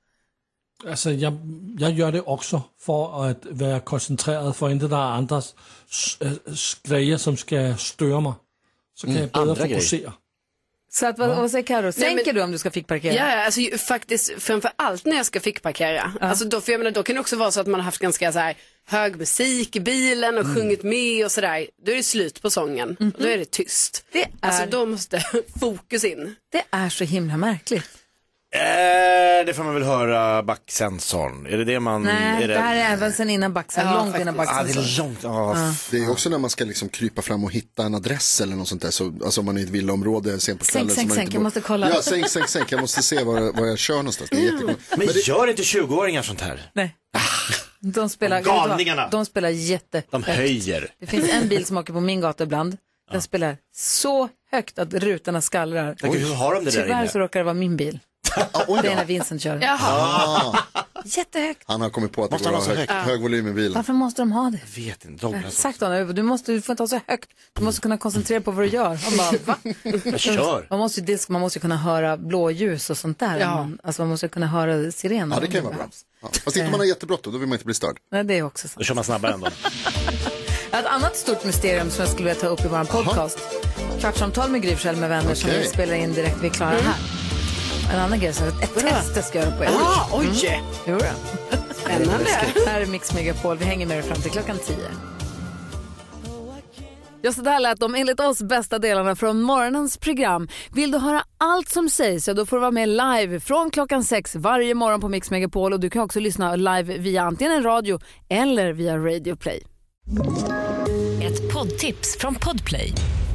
[SPEAKER 4] Altså, jeg, jeg gør det også for at være koncentreret, for ikke der er andres s- øh, s- grejer, som skal støre mig. Så kan
[SPEAKER 7] Mm,
[SPEAKER 4] jeg bedre
[SPEAKER 7] andre grejer.
[SPEAKER 4] fokusere.
[SPEAKER 2] Så att, vad, vad säger Karo?
[SPEAKER 17] Nej,
[SPEAKER 2] Sänker
[SPEAKER 17] men-
[SPEAKER 2] du om du ska fick parkera?
[SPEAKER 17] Ja, ja, alltså ju- faktiskt framför allt när jag ska fickparkera. Alltså då, för jag menar, då kan det också vara så att man har haft ganska så här hög musik i bilen
[SPEAKER 2] Mm.
[SPEAKER 17] och sjungit med och sådär. Då är det slut på sången. Då är det tyst.
[SPEAKER 2] Mm-hmm. Det är...
[SPEAKER 17] Alltså då måste fokus in.
[SPEAKER 2] Det är så himla märkligt.
[SPEAKER 5] Eh, det får man väl höra backsensorn. Är det Mm, det man...
[SPEAKER 2] Nej,
[SPEAKER 5] är
[SPEAKER 2] det här är även sen innan Baxen, långt innan
[SPEAKER 5] Ah, det
[SPEAKER 2] Baxen.
[SPEAKER 5] är långt. Ah, f-
[SPEAKER 7] Det är också när man ska liksom krypa fram och hitta en adress eller något sånt där. Så, alltså om man är i ett villaområde sent på
[SPEAKER 2] Sänk,
[SPEAKER 7] kvällen. så
[SPEAKER 2] sänk,
[SPEAKER 7] man
[SPEAKER 2] sänk,
[SPEAKER 7] inte
[SPEAKER 2] jag
[SPEAKER 7] bor-
[SPEAKER 2] måste kolla.
[SPEAKER 7] Ja, sänk, sänk, sänk. Jag måste se var, jag- var jag kör någonstans. Det är jättekonstigt.
[SPEAKER 5] Men gör inte 20-åringar sånt här?
[SPEAKER 2] De spelar,
[SPEAKER 5] Ah. Galningarna.
[SPEAKER 2] De spelar jätte...
[SPEAKER 5] De höjer.
[SPEAKER 2] Det finns en bil som åker på min gata ibland. Den spelar så högt att rutorna skallrar.
[SPEAKER 5] Tänk, hur har de det där
[SPEAKER 2] Tyvärr
[SPEAKER 5] inne?
[SPEAKER 2] så råkar det vara min bil. det är när Vincent kör.
[SPEAKER 7] Ah,
[SPEAKER 2] Jättehögt.
[SPEAKER 7] han har kommit på att
[SPEAKER 5] Måste
[SPEAKER 7] det
[SPEAKER 5] han
[SPEAKER 7] går
[SPEAKER 5] ha så
[SPEAKER 7] hög,
[SPEAKER 5] högt?
[SPEAKER 7] hög volym i bilen.
[SPEAKER 2] Varför måste de ha det?
[SPEAKER 5] Jag vet inte. De alltså,
[SPEAKER 2] Jag Sagt honom, du, måste, du får inte ha så högt. Du måste kunna koncentrera på vad du gör. Han bara, va?
[SPEAKER 5] Jag kör.
[SPEAKER 2] Man måste, ju, disk- man måste ju kunna höra blåljus och sånt där.
[SPEAKER 7] Ja.
[SPEAKER 2] Man, alltså man måste ju kunna höra sirener.
[SPEAKER 7] Ja, det kan ju vara bra. Ja. Fast inte om man har jättebråttom, då vill man inte bli störd.
[SPEAKER 2] Nej, det är också sant.
[SPEAKER 5] Då kör man snabbare ändå.
[SPEAKER 2] Ett annat stort mysterium som jag skulle vilja ta upp i vår podcast. Kvartsamtal med Gry Forssell med vänner som
[SPEAKER 16] Okej.
[SPEAKER 2] vi spelar in direkt vi är klara här.
[SPEAKER 7] Mm.
[SPEAKER 2] En annan grej som ett test jag ska göra på er.
[SPEAKER 16] Ah,
[SPEAKER 2] Mm.
[SPEAKER 16] oj.
[SPEAKER 2] Jodå. Spännande. Här är Mix Megapol. Vi hänger med er fram till klockan tio. Ja, så där lät de enligt oss bästa delarna från morgonens program. Vill du höra allt som sägs så då får du vara med live från klockan sex varje morgon på Mix Megapol och du kan också lyssna live via antingen en radio eller via Radio Play.
[SPEAKER 13] Ett poddtips från Podplay.